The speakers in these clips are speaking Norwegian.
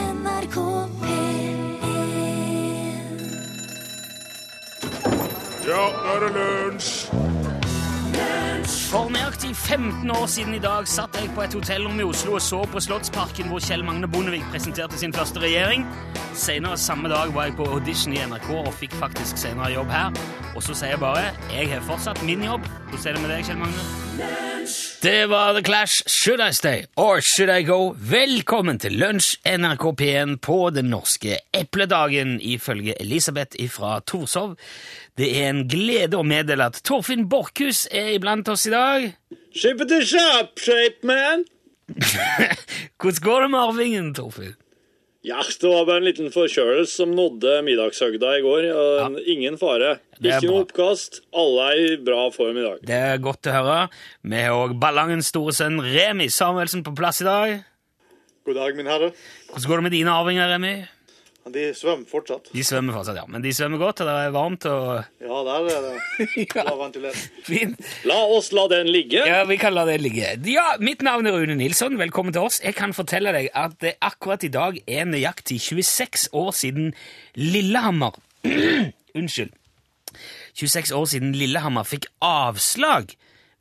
NRK P1 Ja, nå er det lunsj! For nøyaktig 15 år siden i dag satt jeg på et hotellrom i Oslo og så på Slottsparken hvor Kjell Magne Bondevik presenterte sin første regjering. Senere samme dag var jeg på audition i NRK og fikk faktisk senere jobb her. Og så sier jeg bare jeg har fortsatt min jobb. Hvordan er det med deg, Kjell Magne? Det var The Clash. Should I stay or should I go? Velkommen til Lunsj NRK P1 på den norske epledagen, ifølge Elisabeth fra Torshov. Det er en glede å meddele at Torfinn Borchhus er iblant oss i dag. Shippity shop, shape man. Hvordan går det med arvingen, Torfinn? Ja, det var bare en liten forkjølelse som nådde middagshøgda i går. og Ingen fare. Det er Ikke noe bra. oppkast. Alle er i bra form i dag. Det er godt å høre. Vi har òg Ballangens store sønn Remi Samuelsen på plass i dag. God dag, min herre. Hvordan går det med dine arvinger, Remi? De svømmer fortsatt. De svømmer fortsatt, ja. Men de svømmer godt, og det er varmt og Ja, der er det bra ventilert. fint. La oss la den ligge. Ja, vi kan la det ligge. Ja, mitt navn er Rune Nilsson. Velkommen til oss. Jeg kan fortelle deg at det akkurat i dag er nøyaktig 26 år siden Lillehammer Unnskyld. 26 år siden Lillehammer fikk avslag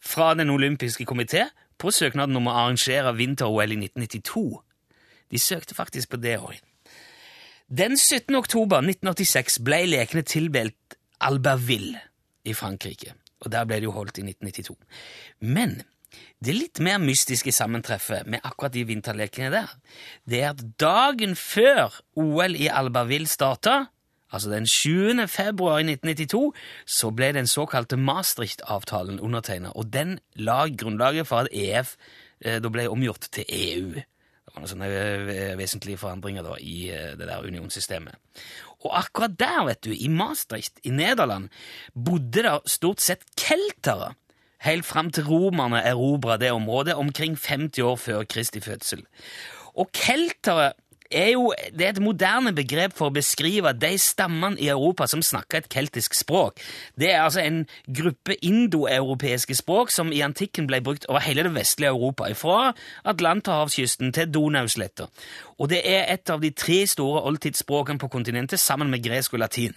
fra Den olympiske komité på søknaden om å arrangere vinter-OL i 1992. De søkte faktisk på det året. Den 17. oktober 1986 ble lekene tildelt Albertville i Frankrike, og der ble det jo holdt i 1992. Men det litt mer mystiske sammentreffet med akkurat de vinterlekene der, det er at dagen før OL i Albertville starta, altså den 7. februar i 1992, så ble den såkalte Maastricht-avtalen undertegna, og den la grunnlaget for at EF eh, da ble omgjort til EU. Det var noen sånne eh, vesentlige forandringer da, i eh, det der unionssystemet. Og akkurat der, vet du, i Maastricht i Nederland, bodde det stort sett keltere, helt fram til romerne erobra det området omkring 50 år før Kristi fødsel. Og keltere er jo det er et moderne begrep for å beskrive de stammene i Europa som snakker et keltisk språk. Det er altså en gruppe indoeuropeiske språk som i antikken ble brukt over hele det vestlige Europa, fra Atlanterhavskysten til Donausletta. Og det er et av de tre store oldtidsspråkene på kontinentet, sammen med gresk og latin.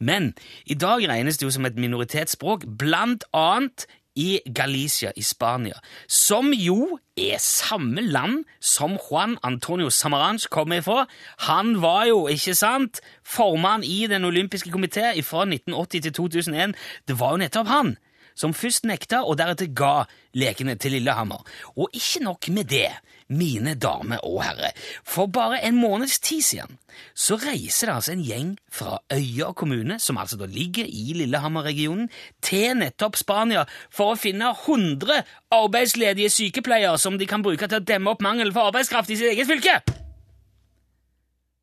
Men i dag regnes det jo som et minoritetsspråk, blant annet i Galicia i Spania, som jo er samme land som Juan Antonio Samaranch kommer ifra. Han var jo, ikke sant, formann i Den olympiske komité fra 1980 til 2001. Det var jo nettopp han som først nekta og deretter ga lekene til Lillehammer. Og ikke nok med det, mine damer og herrer, for bare en måneds tid siden så reiser det altså en gjeng fra Øya kommune, som altså da ligger i Lillehammer-regionen, til nettopp Spania for å finne 100 arbeidsledige sykepleiere som de kan bruke til å demme opp mangelen for arbeidskraft i sitt eget fylke!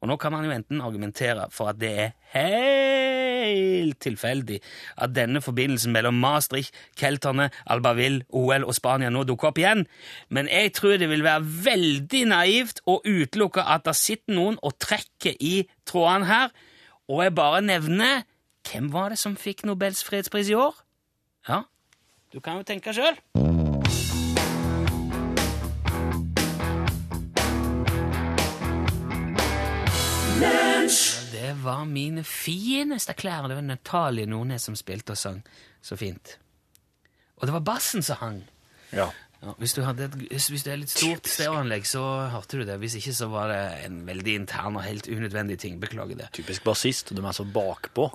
Og nå kan man jo enten argumentere for at det er helt tilfeldig at denne forbindelsen mellom Maastricht, kelterne, Albertville, OL og Spania nå dukker opp igjen, men jeg tror det vil være veldig naivt å utelukke at det sitter noen og trekker i trådene her, og jeg bare nevner Hvem var det som fikk Nobels fredspris i år? Ja, du kan jo tenke sjøl. Det var mine fineste klær. Det var Natalie Nordnes som spilte og sang så fint. Og det var bassen som hang. Ja. Ja, hvis, du hadde et, hvis hvis det er litt stort stereoanlegg, så hørte du det. Hvis ikke, så var det en veldig intern og helt unødvendig ting. Beklager det. Typisk bassist. De er så bakpå.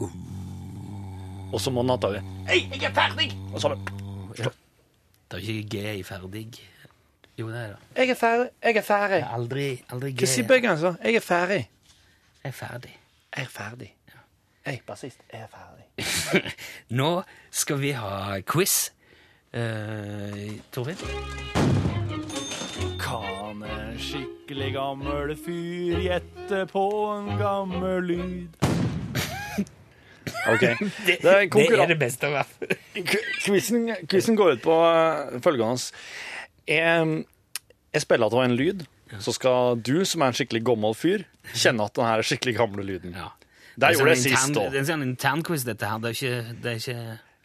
Og så må han ha tatt Hei, jeg er ferdig! Og så er det Det er jo ikke G i ferdig. Jo, det er det. Jeg er ferdig. Jeg er ferdig. Det er Aldri, aldri G. Hva sier bøkene så? Jeg er ferdig. Jeg er ferdig. Jeg er ferdig. Jeg, bassist, jeg er ferdig. Nå skal vi ha quiz. Uh, Torfinn? Kan en skikkelig gammel fyr gjette på en gammel lyd? Ok. Det er konkurran- beste å være. Quizen quizen går ut på eh, følgende. Jeg, jeg spiller at det var en lyd, så skal du, som er en skikkelig gammel fyr, kjenne at den her er skikkelig gamle lyden. Ja. Der er gjorde jeg sånn intern- sist, da. Det er en sånn internquiz, dette her. Det er ikke, det er ikke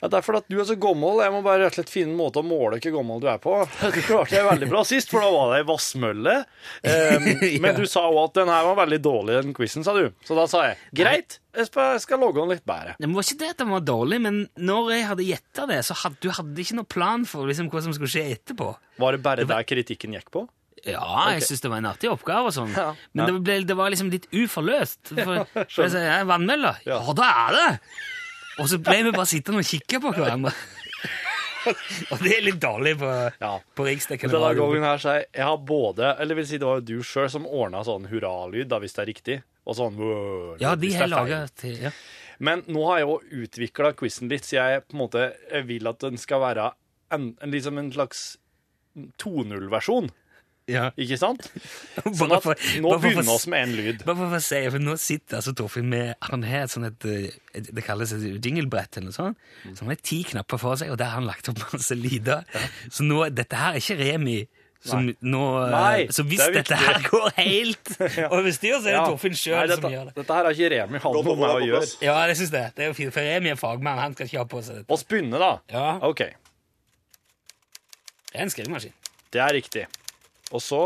Ja, det er fordi at du er så gammel. Jeg må bare rett og slett finne en måte å måle hvor gammel du er på. Du klarte det veldig bra sist, for da var det ei vassmølle. Um, Men du sa òg at den her var veldig dårlig, den quizen, sa du. Så da sa jeg greit, jeg skal jeg skal logge den litt bedre. Det var ikke det at den var dårlig, men når jeg hadde gjetta det, så hadde du hadde ikke noen plan for liksom, hva som skulle skje etterpå. Var det bare der kritikken gikk på? Ja, jeg synes det var en artig oppgave og sånn, men det, ble, det var liksom litt uforløst. For, for jeg sa, ja, vannmølla? Ja, det er det! Og så ble vi bare sittende og kikke på hverandre. og det er litt dårlig på, Ja. på riksdekkende Denne radio. gangen her så jeg, jeg har både Eller vil si, det var jo du sjøl som ordna sånn hurralyd, da, hvis det er riktig. Og sånn «Wow», Ja, de hvis det har er feil. laget til ja. Men nå har jeg jo utvikla quizen litt, så jeg på en måte jeg vil at den skal være en, en, liksom en slags 2.0-versjon, Ja. ikke sant? Sånn Bare at for, nå bare for, begynner vi med en lyd. bare for å si, for nå sitter altså Torfinn med Han har et sånn et, eh, et- det kalles et jinglebrett eller noe sånt, Mm. som har ti knapper for seg, og der har han lagt opp masse lyder. Så nå, dette her er ikke Remi. Som nå, eh, Nei, så hvis det er dette viktig. her går helt over styr, så er det Ja. Torfinn Nei, sjøl som dette, gjør det. dette her har ikke Remi hatt noe med å gjøre. Ja, det syns jeg. Det er jo fint, for Remi er fagmann. Han skal ikke ha på seg dette. Vi begynner, da. Ja. OK. Det er en skrivemaskin. Det er riktig. Og så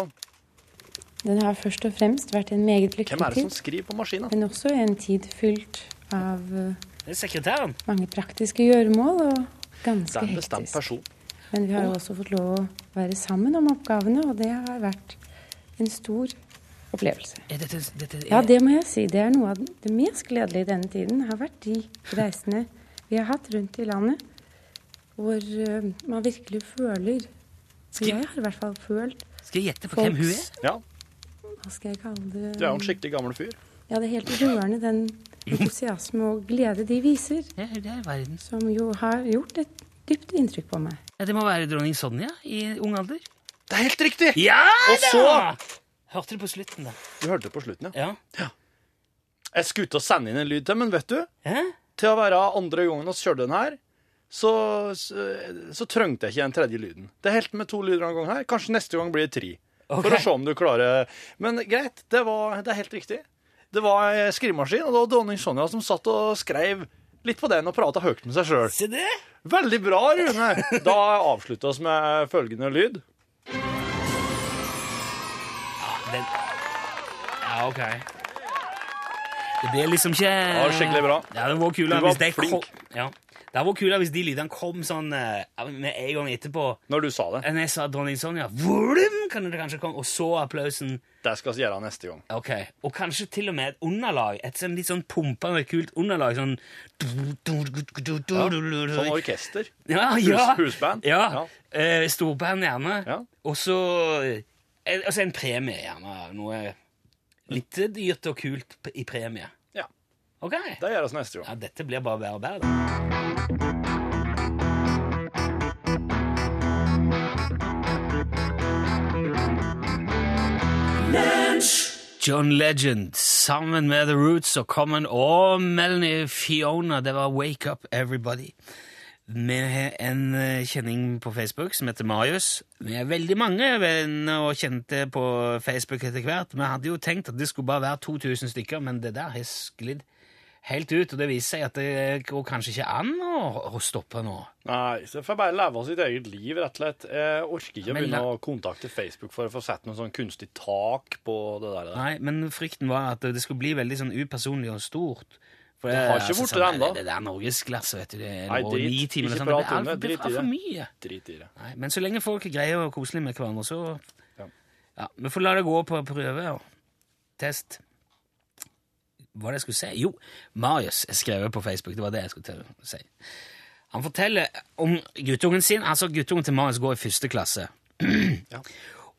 Den har først og fremst vært en meget lykkelig Hvem er det som tid, skriver på maskina? men også en tid fylt av eh, Det er sekretæren. mange praktiske gjøremål og Det ganske er en bestemt hektisk. person. Men vi har jo også fått lov å være sammen om oppgavene, og det har vært en stor opplevelse. Er dette, dette er, Ja, det må jeg si. Det er noe av det mest gledelige i denne tiden, har vært de reisene vi har hatt rundt i landet, hvor eh, man virkelig føler Skri- Jeg har i hvert fall følt Skal jeg gjette på hvem hun er? folks Ja, Hva skal jeg kalle det? du er jo en skikkelig gammel fyr. Ja, det er helt rørende den entusiasme og glede de viser, Ja, det er verdens. som jo har gjort et dypt inntrykk på meg. Ja, det må være dronning Sonja i ung alder. Det er helt riktig! Ja Og så- Hørte du på slutten, da? Du hørte det på slutten, ja. Ja. Jeg skulle ut og sende inn en lyd til, men vet du, Hæ? til å være andre gangen vi kjørte den her, så, så, så trengte jeg ikke den tredje lyden. Det er helt med to lyder en gang her. Kanskje neste gang blir det tre. Ok. For å se om du klarer Men greit, det, var, det er helt riktig. Det var ei skrivemaskin, og det var dronning Sonja som satt og skrev litt på den og prata høyt med seg sjøl. Se det! Veldig bra, Rune! Da avslutter oss med følgende lyd. Den... Ja, OK. Det blir liksom ikke Det var skikkelig bra. Ja, det var kulere Du var hvis de flink. Kom... Ja. Det var kulere hvis de lydene kom sånn eh, med en gang etterpå. Når du sa det. Enn jeg sa dronning Sonja, Vroom, kan det kanskje komme, og så applausen. Det skal vi gjøre neste gang. Ok, Og kanskje til og med et underlag. Et sånn litt sånn pumpende, kult underlag. Sånn Som orkester. Ja, ja. husband? Ja. Eh, storband, gjerne. Ja. Og så eh, altså en premie, gjerne. Noe litt dyrt og kult p- i premie. Ja. Ok. Det gjør vi neste gang. Ja, dette blir bare bedre og bedre. da. John Legend sammen med The Roots og Common og Melanie Fiona. Det var Wake Up Everybody. Vi har en eh, kjenning på Facebook som heter Marius. Vi er veldig mange venner og kjente på Facebook etter hvert. Vi hadde jo tenkt at det skulle bare være 2000 stykker, men det der har sklidd helt ut. Og det viser seg at det går kanskje ikke an å, å stoppe nå. Nei, så får jeg bare leve av sitt eget liv, rett og slett. Jeg orker ikke å Men begynne la- å kontakte Facebook for å få sett noe sånn kunstig tak på det der. Nei, men frykten var at det skulle bli veldig sånn upersonlig og stort. For det, har ikke vært det enda. Det, det er norgesklasse, vet du. Det er Nei, noe drit. ni timer Ikke eller sånn. Det prat er om det. alt- det Drit i er for det. mye. Drit i det. Nei, men så lenge folk er greie og koselige med hverandre, så Ja. ja, Vi får la det gå på prøve og test. Hva det jeg skulle si? Jo, Marius er skrevet på Facebook. Det var det jeg skulle til å si. Han forteller om guttungen sin. Altså, guttungen til Marius går i første klasse.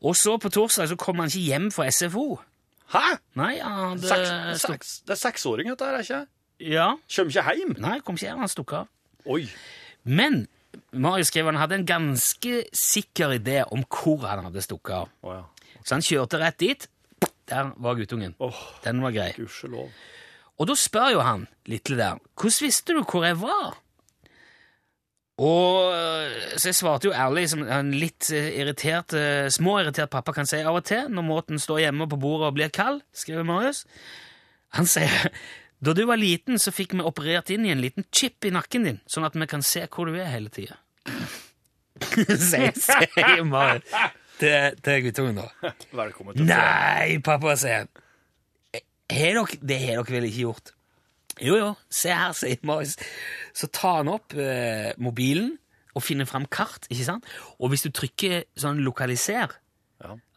Og så på torsdag så kom han ikke hjem fra SFO. Hæ?! Nei, han hadde Seks, stukk- seks, det er seksåring, dette her, er ikke? Ja. Kjem ikke hjem? Nei, kom ikke hjem, han stukk av. Oi. Men Marius skrev han hadde en ganske sikker idé om hvor han hadde stukket av. Å ja. Så han kjørte rett dit. Der var guttungen. Åh, Den var grei. gudskjelov. Og da spør jo han litt der, hvordan visste du hvor jeg var? Og øh, Så jeg svarte jo ærlig, som en litt eh, irritert, eh, småirritert pappa kan si av og til, når Måten står hjemme på bordet og blir kald, skriver Marius. Han sier Da du var liten, så fikk vi operert inn i en liten chip i nakken din, sånn at vi kan se hvor du er hele tida. Sier sier Marit til, til guttungen, da. Velkommen til Nei, pappa, sier han. Har dere, det har dere vel ikke gjort? Jo, jo, se her, sier Marius. Så tar han opp eh, mobilen og finner fram kart, ikke sant? Og hvis du trykker sånn lokaliser,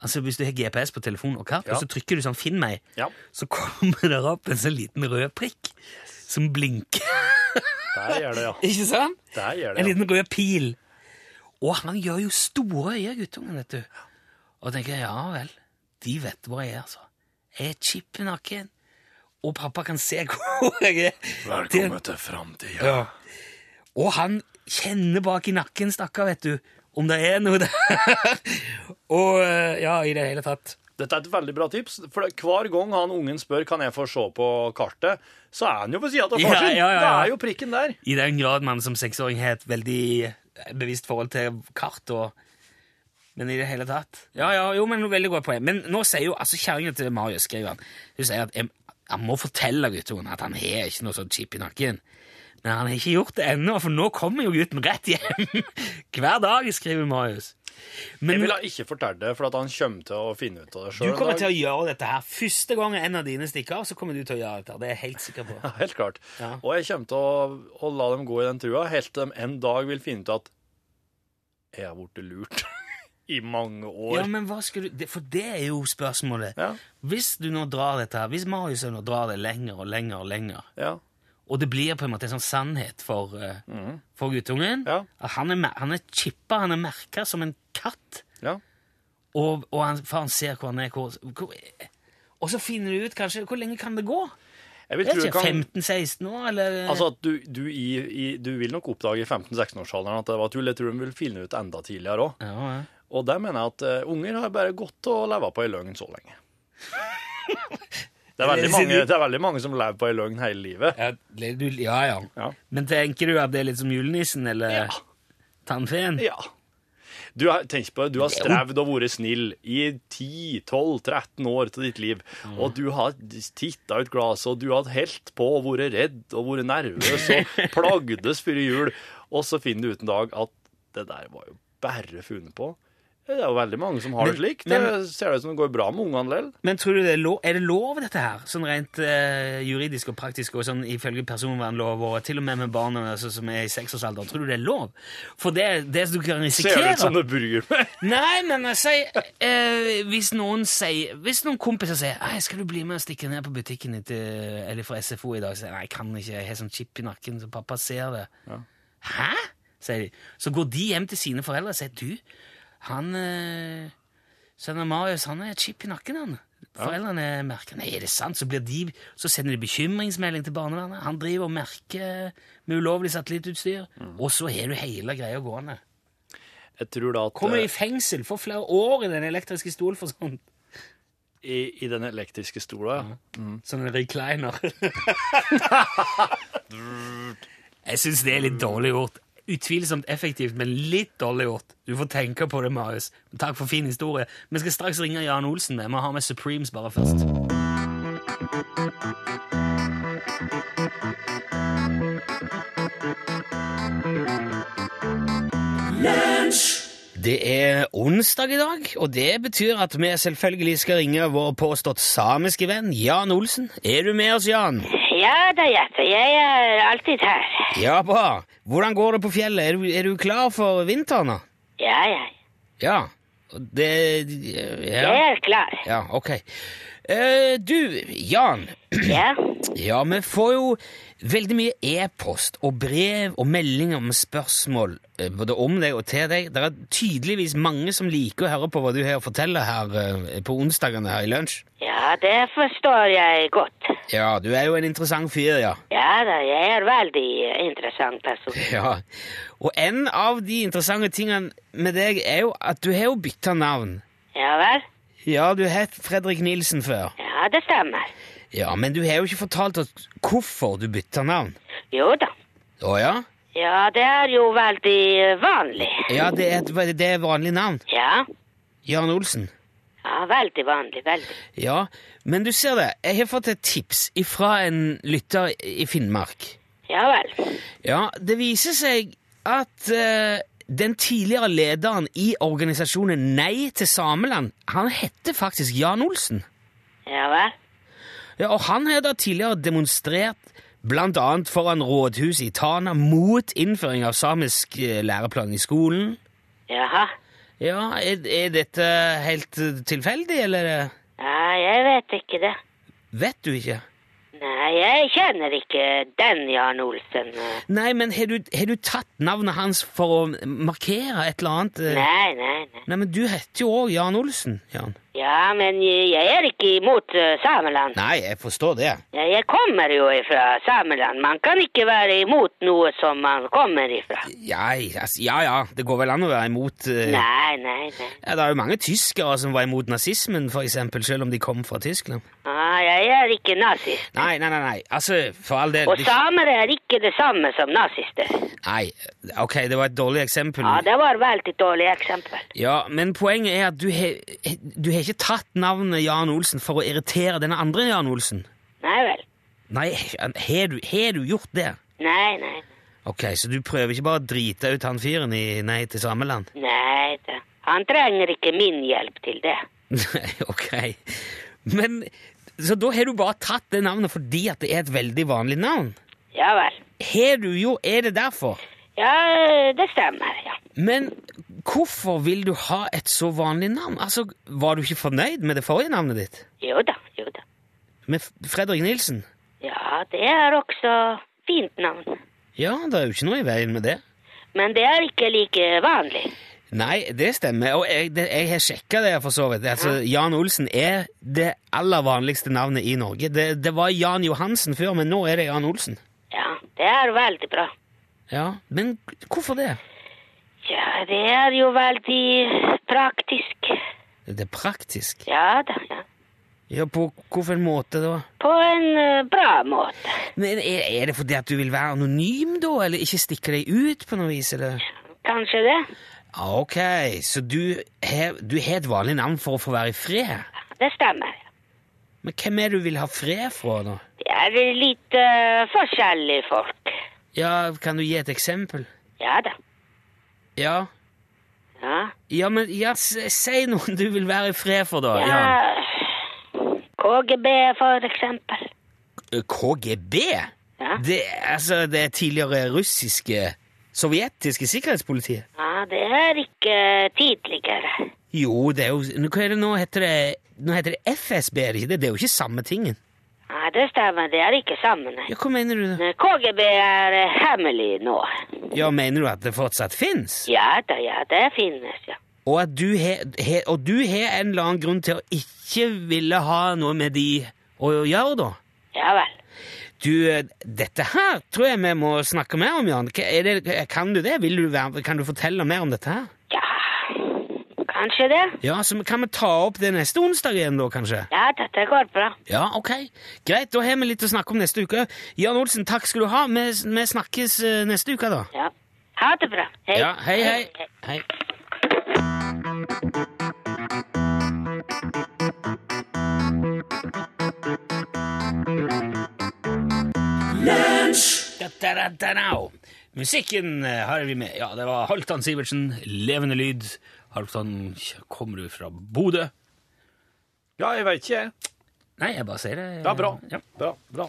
altså hvis du har GPS på telefonen og kart, og så trykker du sånn finn meg, Ja. så kommer det opp en sånn liten rød prikk som blinker, Der gjør det, ja. ikke sant? Der gjør det, En ja. liten rød pil. Og han gjør jo store øyne, guttungen, vet du. Og tenker jeg, ja vel, de vet hvor jeg er, altså. Jeg er chippenakken, og pappa kan se hvor jeg er. Det- Velkommen til framtida. Ja. og han kjenner bak i nakken, stakkar, vet du, om det er noe der. og eh, ja, i det hele tatt. Dette er et veldig bra tips, for det- hver gang han ungen spør kan jeg få se på kartet, så er han jo på sida av far sin. Ja, ja, ja, ja. Det er jo prikken der. I den grad man som seksåring har et veldig eh, bevisst forhold til kart og Men i det hele tatt Ja, ja, jo, men veldig godt poeng. Men nå sier jo altså kjerringa til Marius, skriver han, hun sier at jeg, han må fortelle guttungen at han har ikke noe sånn chip i nakken. Men han har ikke gjort det ennå, for nå kommer jo gutten rett hjem. Hver dag, skriver Marius. Men, Jeg ville ikke fortelle det, for at han kommer til å finne ut av det Du sjøl. kommer til å gjøre dette her. Første gang en av dine stikker av, så kommer du til å gjøre dette. Det er jeg helt sikker på. Helt klart. Ja. Og jeg kommer til å, å la dem gå i den trua helt til de en dag vil finne ut at jeg har blitt lurt i mange år. Ja, men hva skal du... det- For det er jo spørsmålet. Ja. Hvis du nå drar dette her, hvis Marius nå drar det lenger og lenger og lenger, Ja. og det blir på en måte en sånn sannhet for, eh, for guttungen, Mm. Ja. at han er, mer- han er chippa, han er merka som en katt, Ja. og, og han, for han ser hvor han er, hvor, hvor... Og så finner du ut kanskje, hvor lenge kan det gå? Jeg vil Jeg tro vet du ikke, kan 15-16 år, eller... Altså at du, du, i, i, du vil nok oppdage i 15-16-årsalderen at det var tull. Jeg tror de vil finne ut enda tidligere òg. Ja, ja. Og der mener jeg at eh, unger har bare gått og leva på ei løgn så lenge. Det er, veldig mange, det er veldig mange som lever på ei løgn hele livet. Ja, det- du, ja, ja. Ja. Men tenker du at det er litt som julenissen eller tannfeen? Ja. Du har, tenk på, det, du har strevd og vært snill i 10-12-13 år til ditt liv. Og du har titta ut glasset, og du har helt på og vært redd og vært nervøs og plagdes før jul. Og så finner du ut en dag at det der var jo bare funnet på. Det er jo veldig mange som har det Men- slik. Det men- ser ut som det går bra med ungene likevel. Men tror du det er lov, er det lov dette her? Sånn rent eh, juridisk og praktisk og sånn ifølge personvernlov og til og med med barna altså, som er i seksårsalderen. Tror du det er lov? For det, det du kan Ser risikere ut som det bryr meg. Nei, men jeg sier, eh, hvis noen sier Hvis noen kompiser sier Nei, skal du bli med og stikke ned på butikken ditt, eh, eller fra SFO i dag? Så sier jeg, nei, jeg kan ikke, jeg har sånn chip i nakken, så pappa ser det. Hæ? sier de. Så går de hjem til sine foreldre og sier du, han eh, sønnen Marius, han har et chip i nakken, han. Foreldrene merker Nei, er det sant? Så, blir de, så sender de bekymringsmelding til barnevernet. Han driver og merker med ulovlig satellittutstyr. Og så har du hele greia gående. Jeg tror da at Kommer eh, i fengsel for flere år i den elektriske stol for sånn. i, i den elektriske stola ja. Sånn recliner. Jeg syns det er litt dårlig gjort. Utvilsomt effektivt, men litt dårlig gjort. Du får tenke på det, Marius. Takk for fin historie. Vi skal straks ringe Jan Olsen. Vi må ha med Supremes bare først. Det er onsdag i dag, og det betyr at vi selvfølgelig skal ringe vår påstått samiske venn Jan Olsen. Er du med oss, Jan? Ja da, Jeppe. Jeg er alltid her. Ja, bra. Hvordan går det på fjellet? Er du, er du klar for vinteren? da? Ja, ja. Ja. Det Ja, Jeg er klar. ja ok. Eh, du, Jan. Ja. Ja, vi får jo veldig mye e-post og brev og meldinger med spørsmål eh, både om deg og til deg. Det er tydeligvis mange som liker å høre på hva du har å fortelle her eh, på onsdagene her i lunsj. Ja, det forstår jeg godt. Ja, du er jo en interessant fyr, ja. Ja da, jeg er veldig eh, interessant person. Ja, Og en av de interessante tingene med deg er jo at du har jo bytta navn. Ja vel? Ja, du het Fredrik Nilsen før. Ja, det stemmer. Ja, Men du har jo ikke fortalt oss hvorfor du bytta navn. Jo da. Å ja? Ja, det er jo veldig eh, vanlig. Ja, det er, et, det er vanlig navn. Ja. Jan Olsen. Ja, veldig vanlig, veldig. Ja, men du ser det, jeg har fått et tips fra en lytter i Finnmark. Ja vel. Ja, det viser seg at eh, den tidligere lederen i organisasjonen Nei til Sameland, han heter faktisk Jan Olsen. Ja vel. Ja, og han har da tidligere demonstrert blant annet foran rådhuset i Tana mot innføring av samisk eh, læreplan i skolen. Jaha. Ja, er, er dette helt eh, tilfeldig, eller eh, Ja, jeg vet ikke det. vet du ikke? Nei, jeg kjenner ikke den Jan Olsen. Nei, men har du, har du tatt navnet hans for å markere et eller annet? eh? Nei, nei, nei. Nei, men du heter jo òg Jan Olsen, Jan. Ja, men jeg er ikke imot eh, Sameland. Nei, jeg forstår det. Ja, Jeg kommer jo ifra Sameland. Man kan ikke være imot noe som man kommer ifra. Ja, altså, ja, ja, det går vel an å være imot eh, Nei, nei, nei. ja, Det er jo mange tyskere som var imot nazismen, for eksempel, selv om de kom fra Tyskland. Ah, jeg er ikke nazist. Nei, nei, nei, nei. altså, for all del Og de- samer er ikke det samme som nazister. Nei, ok, det var et dårlig eksempel. Ja, det var veldig dårlig eksempel. Ja, Men poenget er at du har du har ikke tatt navnet Jan Olsen for å irritere denne andre Jan Olsen. Nei vel. Nei, har du, har du gjort det? Nei, nei. Ok, Så du prøver ikke bare å drite ut han fyren i Nei til Sameland? Nei da. Han trenger ikke min hjelp til det. Nei, ok. Men Så da har du bare tatt det navnet fordi at det er et veldig vanlig navn? Ja vel. Har du jo Er det derfor? Ja, det stemmer, ja. Men hvorfor vil du ha et så vanlig navn? Altså, Var du ikke fornøyd med det forrige navnet ditt? Jo da, jo da. Med F- Fredrik Nilsen? Ja, det er også fint navn. Ja, det er jo ikke noe i veien med det. Men det er ikke like vanlig. Nei, det stemmer, og jeg, det, jeg har sjekka det, for så vidt. Altså, Jan Olsen er det aller vanligste navnet i Norge. Det, det var Jan Johansen før, men nå er det Jan Olsen. Ja, det er veldig bra. Ja, Men hvorfor det? Ja, det er jo veldig praktisk. Det er praktisk. Ja da, ja. Ja, på hvilken måte da? På en eh, bra måte. Men er, er det fordi at du vil være anonym da, eller ikke stikke deg ut på noe vis, eller? Kanskje det? Ja, Ok, så du har du har et vanlig navn for å få være i fred? Det stemmer. Men hvem er det du vil ha fred fra da? Det er litt eh, forskjellige folk. Ja, kan du gi et eksempel? Ja da. Ja, Ja. ja men ja, s- si noen du vil være i fred for da, ja. Jan. KGB, for eksempel. Eh, KGB? Ja. Det, altså, det tidligere russiske, sovjetiske sikkerhetspolitiet? Ja, det er ikke tidligere. Jo, det er jo, hva er det nå heter det? Nå heter det FSB, er det ikke det? Det er jo ikke samme tingen. Ja, det stemmer. Det er ikke sammen. nei. Ja, hva mener du da? Men KGB er eh, hemmelig nå. Ja, mener du at det fortsatt fins? Ja da, ja, det finnes, ja. Og at du har he- og du har en eller annen grunn til å ikke ville ha noe med de å gjøre, da? Ja vel. Du, eh, dette her tror jeg vi må snakke mer om, Jan. Hva- Er det, kan du det? Vil du være, kan du fortelle mer om dette her? Ja, kanskje det. Ja, så kan vi ta opp det neste onsdag igjen, da, kanskje? Ja, dette går bra. Ja, ok. Greit, da har vi litt å snakke om neste uke. Jan Olsen, takk skal du ha. Vi, vi snakkes eh, neste uke, da. Ja. Ha det bra. Hei. Ja, hei, hei. hei. Da-da-da-da-da. Musikken eh, har vi med. Ja, det var Halvdan Sivertsen, levende lyd. Halvdan, kommer du fra Bodø? Ja, jeg veit ikke, jeg. Nei, jeg bare sier det. Ja, bra. Ja, Bra, bra.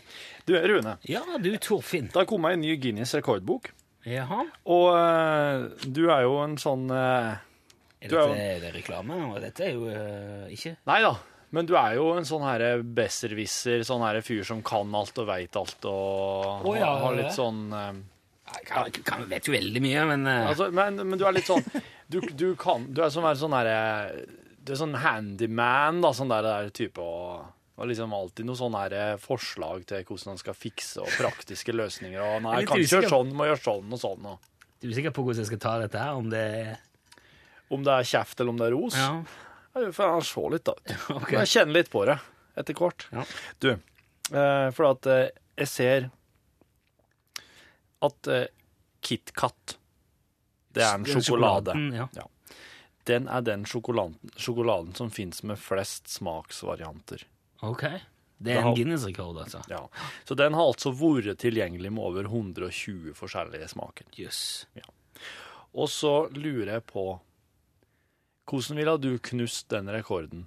Du, Rune, ja du, Torfinn. det har kommet en ny Guinness rekordbok. Jaha. Og eh, du er jo en sånn eh, Er Du er jo- dette er det reklame? Og dette er jo eh, ikke Nei da, men du er jo en sånn her besserwisser, sånn her fyr som kan alt og veit alt og Å, ja, har det er litt det. sånn eh, Jeg kan, kan, vet jo veldig mye, men eh, altså, men, men du er litt sånn Du, du kan Du er sånn her sånn her, eh, Du er sånn handyman, da, sånn der, der type og og liksom alltid noen sånne her, eh, forslag til hvordan han skal fikse og praktiske løsninger. Og nei, Jeg er litt kan ikke gjøre usikker. sånn, må gjøre sånn og sånn. Og. Du er sikker på hvordan jeg skal ta dette her? Om det er Om det er kjeft eller om det er ros. ja. Ja, Du får gjerne se litt, da. ok. Jeg kjenner litt på det etter hvert. Ja. Du, eh, for at eh, jeg ser at eh, KitKat, det er en sjokolade. sjokoladen, Mm, Ja. Den er den sjokoladen, sjokoladen som fins med flest smaksvarianter. Ok. Det er en Guinness-rekord, altså. Ja. Så den har altså vært tilgjengelig med over 120 forskjellige smaker. Jøss. Og så lurer jeg på Hvordan ville du knust den rekorden?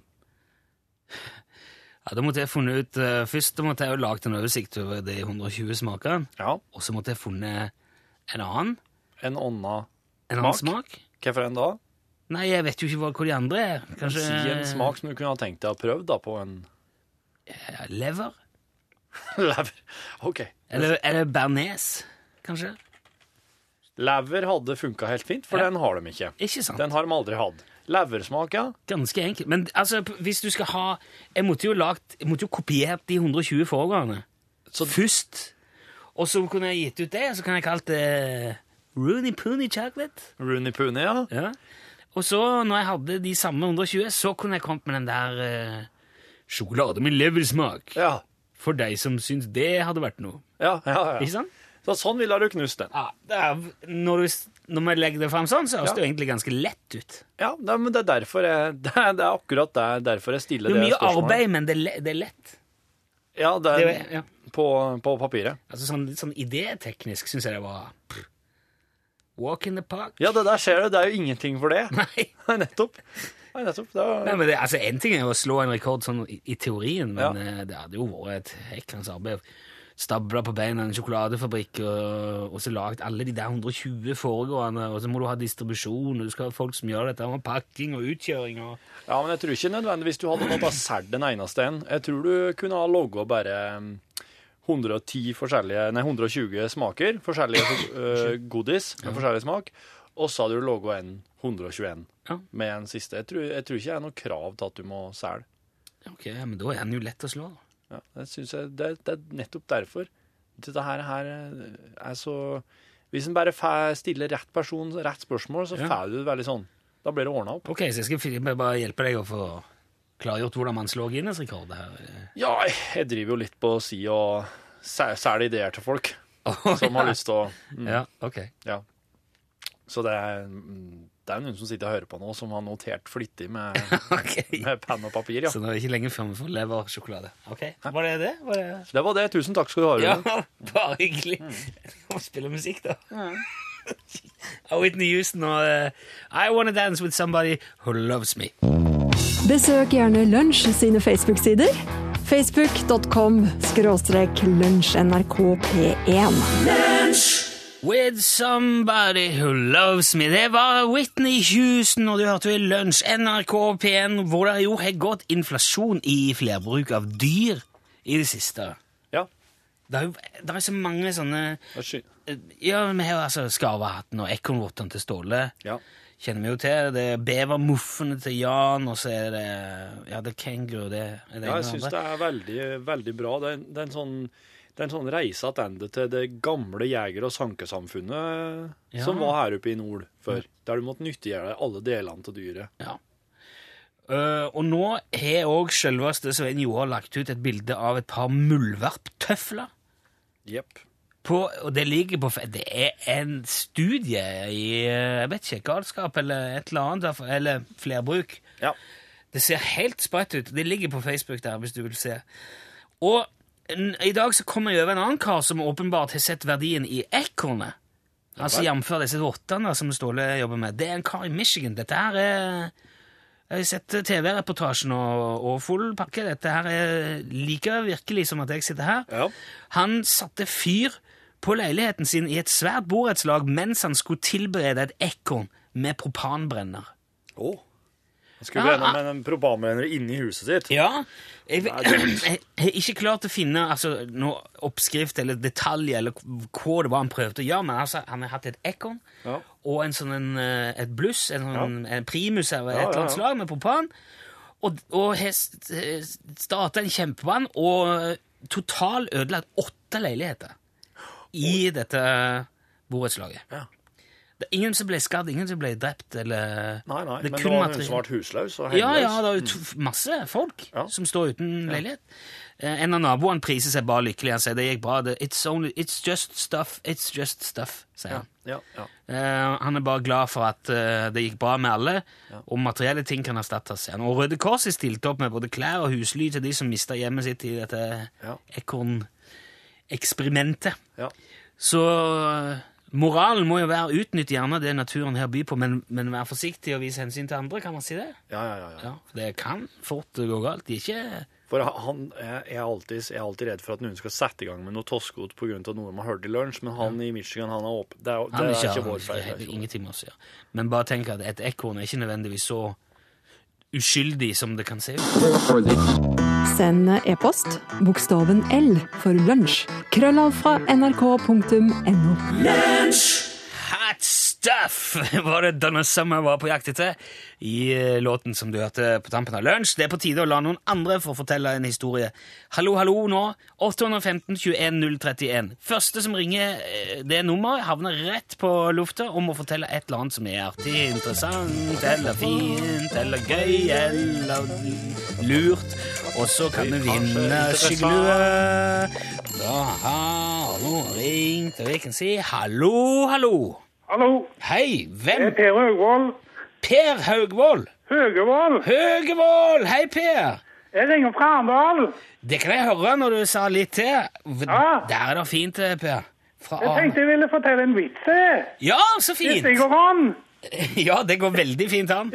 Ja, da måtte jeg funnet ut, eh, Først da måtte jeg jo lagt en oversikt over de 120 smakene, Ja. og så måtte jeg funnet en annen, En ånda en annen Smak? smak. Hvorfor en da? Nei, jeg vet jo ikke hva, hva de andre er. Kanskje Si en smak som du kunne ha tenkt deg å prøve da på en Ja, lever? lever. Ok. Eller, eller bearnés, kanskje? Lever hadde funka helt fint, for Ja. den har de ikke. Ikke sant? Den har de aldri hatt. Leversmak, ja. Ganske enkelt. Men altså, p- hvis du skal ha Jeg måtte jo, lagt, jeg måtte jo kopiert de 120 foregående. Først. Og så kunne jeg gitt ut det, så kan jeg kalt det eh, Rooney Pooney Chocolate. Rooney Pooney, ja. Ja. Og så, når jeg hadde de samme 120, så kunne jeg kommet med den der eh, sjokolade med leversmak. Ja. For deg som syns det hadde vært noe. ja, ja, ja. Ikke sant? Så sånn ville du knust den. Ja, det er, når, du, s- når man legger det fram sånn, så høres Ja. det jo egentlig ganske lett ut. Ja, nei, men det er derfor jeg Det er, det er akkurat det, derfor jeg stiller Det det er mye spørsmålet. arbeid, men det er, le- det er lett. Ja, det Det er, er, ja. På, på papiret. Altså sånn, litt sånn idéteknisk syns jeg det var pff. Walk in the park. Ja, det der ser du. Det er jo ingenting for det. Nei. Nei, nettopp. Nei, nettopp. Det Nei, er, men det, altså En ting er jo å slå en rekord sånn i, i teorien, men Ja. eh, det hadde jo vært et heklende arbeid. Stabla på beina en sjokoladefabrikk og, og så lagd alle de der 120 foregående, og så må du ha distribusjon, og du skal ha folk som gjør dette, og pakking og utkjøring og ja, men jeg tror ikke nødvendigvis du hadde måttet ha solgt den eneste en. Jeg tror du kunne ha logga bare mm, 110 forskjellige Nei, 120 smaker. Forskjellige eh, godis med forskjellig smak. Og så hadde du logga en 121 Ja. med en siste. Jeg tror, jeg tror ikke det er noe krav til at du må selge. Ok, men da er den jo lett å slå. da. Ja, det, synes jeg, det, det er nettopp derfor. Dette her, her eh, er så Hvis en bare fæ- stiller rett person rett spørsmål, så Ja. får du det veldig sånn. Da blir det ordna opp. Ok, så jeg skal fin- bare hjelpe deg å få klargjort hvordan man slår Guinness-rekord her. Ja, jeg driver jo litt på å si og selge ideer til folk som har lyst til å mm, Ja, ok. Ja. Så det er, mm, det er noen som sitter og hører på nå, som har notert flittig med, Ok. med penn og papir, ja. Så nå er det ikke lenge før vi får leversjokolade. Ok, Var det det? Var det... Det var det. Tusen takk skal du ha, Rune. Ja, bare hyggelig. Kan vi spille musikk, da? Og Whitney Houston og eh, I Wanna Dance With Somebody Who Loves Me. Besøk gjerne Lunsj sine Facebook-sider. Facebook.com skråstrek lunsjnrkp1. With Somebody Who Loves Me. Det var Whitney Houston, og du hørte jo i Lunsj NRK P1, hvor det jo har gått inflasjon i flerbruk av dyr i det siste. Ja. Det er jo det er så mange sånne Vær så snill. eh, Ja, vi har jo altså skarvehatten og ekornvottene til Ståle. Ja. kjenner vi jo til. Det er bevermuffene til Jan, og så er det ja, det er kenguru. Det er det Ja, ene og jeg syns andre. det er veldig, veldig bra. Det er, en- det er en sånn det er en sånn reise tilbake til det gamle jeger- og sankesamfunnet Ja. som var her oppe i nord før. Der du måtte nyttiggjøre deg alle delene til dyret. Ja. Eh, og nå har òg selveste Svein Joar lagt ut et bilde av et par muldvarptøfler. Jepp. På, og det ligger på fe- Det er en studie i eh, jeg vet ikke, galskap eller et eller annet, eller flerbruk. Ja. Det ser helt sprøtt ut. Det ligger på Facebook der, hvis du vil se. Og n- i dag så kommer jeg over en annen kar som åpenbart har sett verdien i ekornet. Altså jf. disse rottene som Ståle jobber med. Det er en kar i Michigan. Dette her er Jeg har sett TV-reportasjen og, og full pakke. Dette her er like virkelig som at jeg sitter her. Ja. Han satte fyr på leiligheten sin i et svært borettslag mens han skulle tilberede et ekorn med propanbrenner. Oh. Han skulle brenne med en propanbrenner inni huset sitt. Ja. Jeg, jeg har ikke klart å finne altså, noe oppskrift eller detalj eller hva det var han prøvde å gjøre, men altså, han har hatt et ekorn Ja. og en sånn, en, eh, et bluss, en, sånn, en primus eller et Ja, ja, eller annet ja. slag med propan, og, og har starta en kjempebrann og total ødelagt åtte leiligheter i dette borettslaget. Det er ingen som ble skadd, ingen som ble drept, eller Nei, nei, Det men det kun var materiell. hun som ble husløs og Ja, ja, hjemløs. det er jo to- masse folk Mm. Ja. som står uten leilighet. Eh, En av naboene priser seg bare lykkelig. Han sier det gikk bra. Det, it's, only, it's just stuff. It's just stuff, sier han. Ja, ja. Eh, han er bare glad for at eh, det gikk bra med alle, og materielle ting kan erstattes. sier han. Og Røde Kors er stilt opp med både klær og husly til de som mista hjemmet sitt i dette Ja. ekorneksperimentet. Ja. Så eh, moralen må jo være utnytt gjerne det naturen her byr på, men, men vær forsiktig og vis hensyn til andre, kan man si det? Ja, ja, ja, ja. Ja, for det kan fort gå galt. De er ikke For han er er alltid, er alltid redd for at noen skal sette i gang med noe toskot på grunn av noe man hørte i lunsj, men han i Michigan, han er åpen. Det er, det Han er vil ikke, ikke, vår feil. det det er har ikke vår. ingenting med oss å gjøre. Men bare tenk at et ekorn er ikke nødvendigvis så uskyldig som det kan se ut. Send e-post bokstaven L for lunsj. Krøllav fra nrk.no. Hot stuff var det Donna Summer var på jakt etter i eh, låten som du hørte på tampen av lunsj. Det er på tide å la noen andre få fortelle en historie. Hallo, hallo nå. 815 21 031. Første som ringer eh, det nummeret, havner rett på lufta og må fortelle et eller annet som er artig, interessant eller fint eller gøy eller lurt. Og så kan du vinne skyggelue. Da har noen ringt, og vi kan si hallo, hallo. Hallo, Hei, det hvem er Per Høgvold. Per Haugvold. Høgevold, Høgevold! Hei, Per! jeg ringer fra Arendal. Det kan jeg høre når du sa litt til. V- Ja. Der er det fint, eh, Per. Fra Ah. Jeg Arne. tenkte jeg ville fortelle en vits, jeg. Ja, så Hvis fint! det går an. Ja, det går veldig fint an.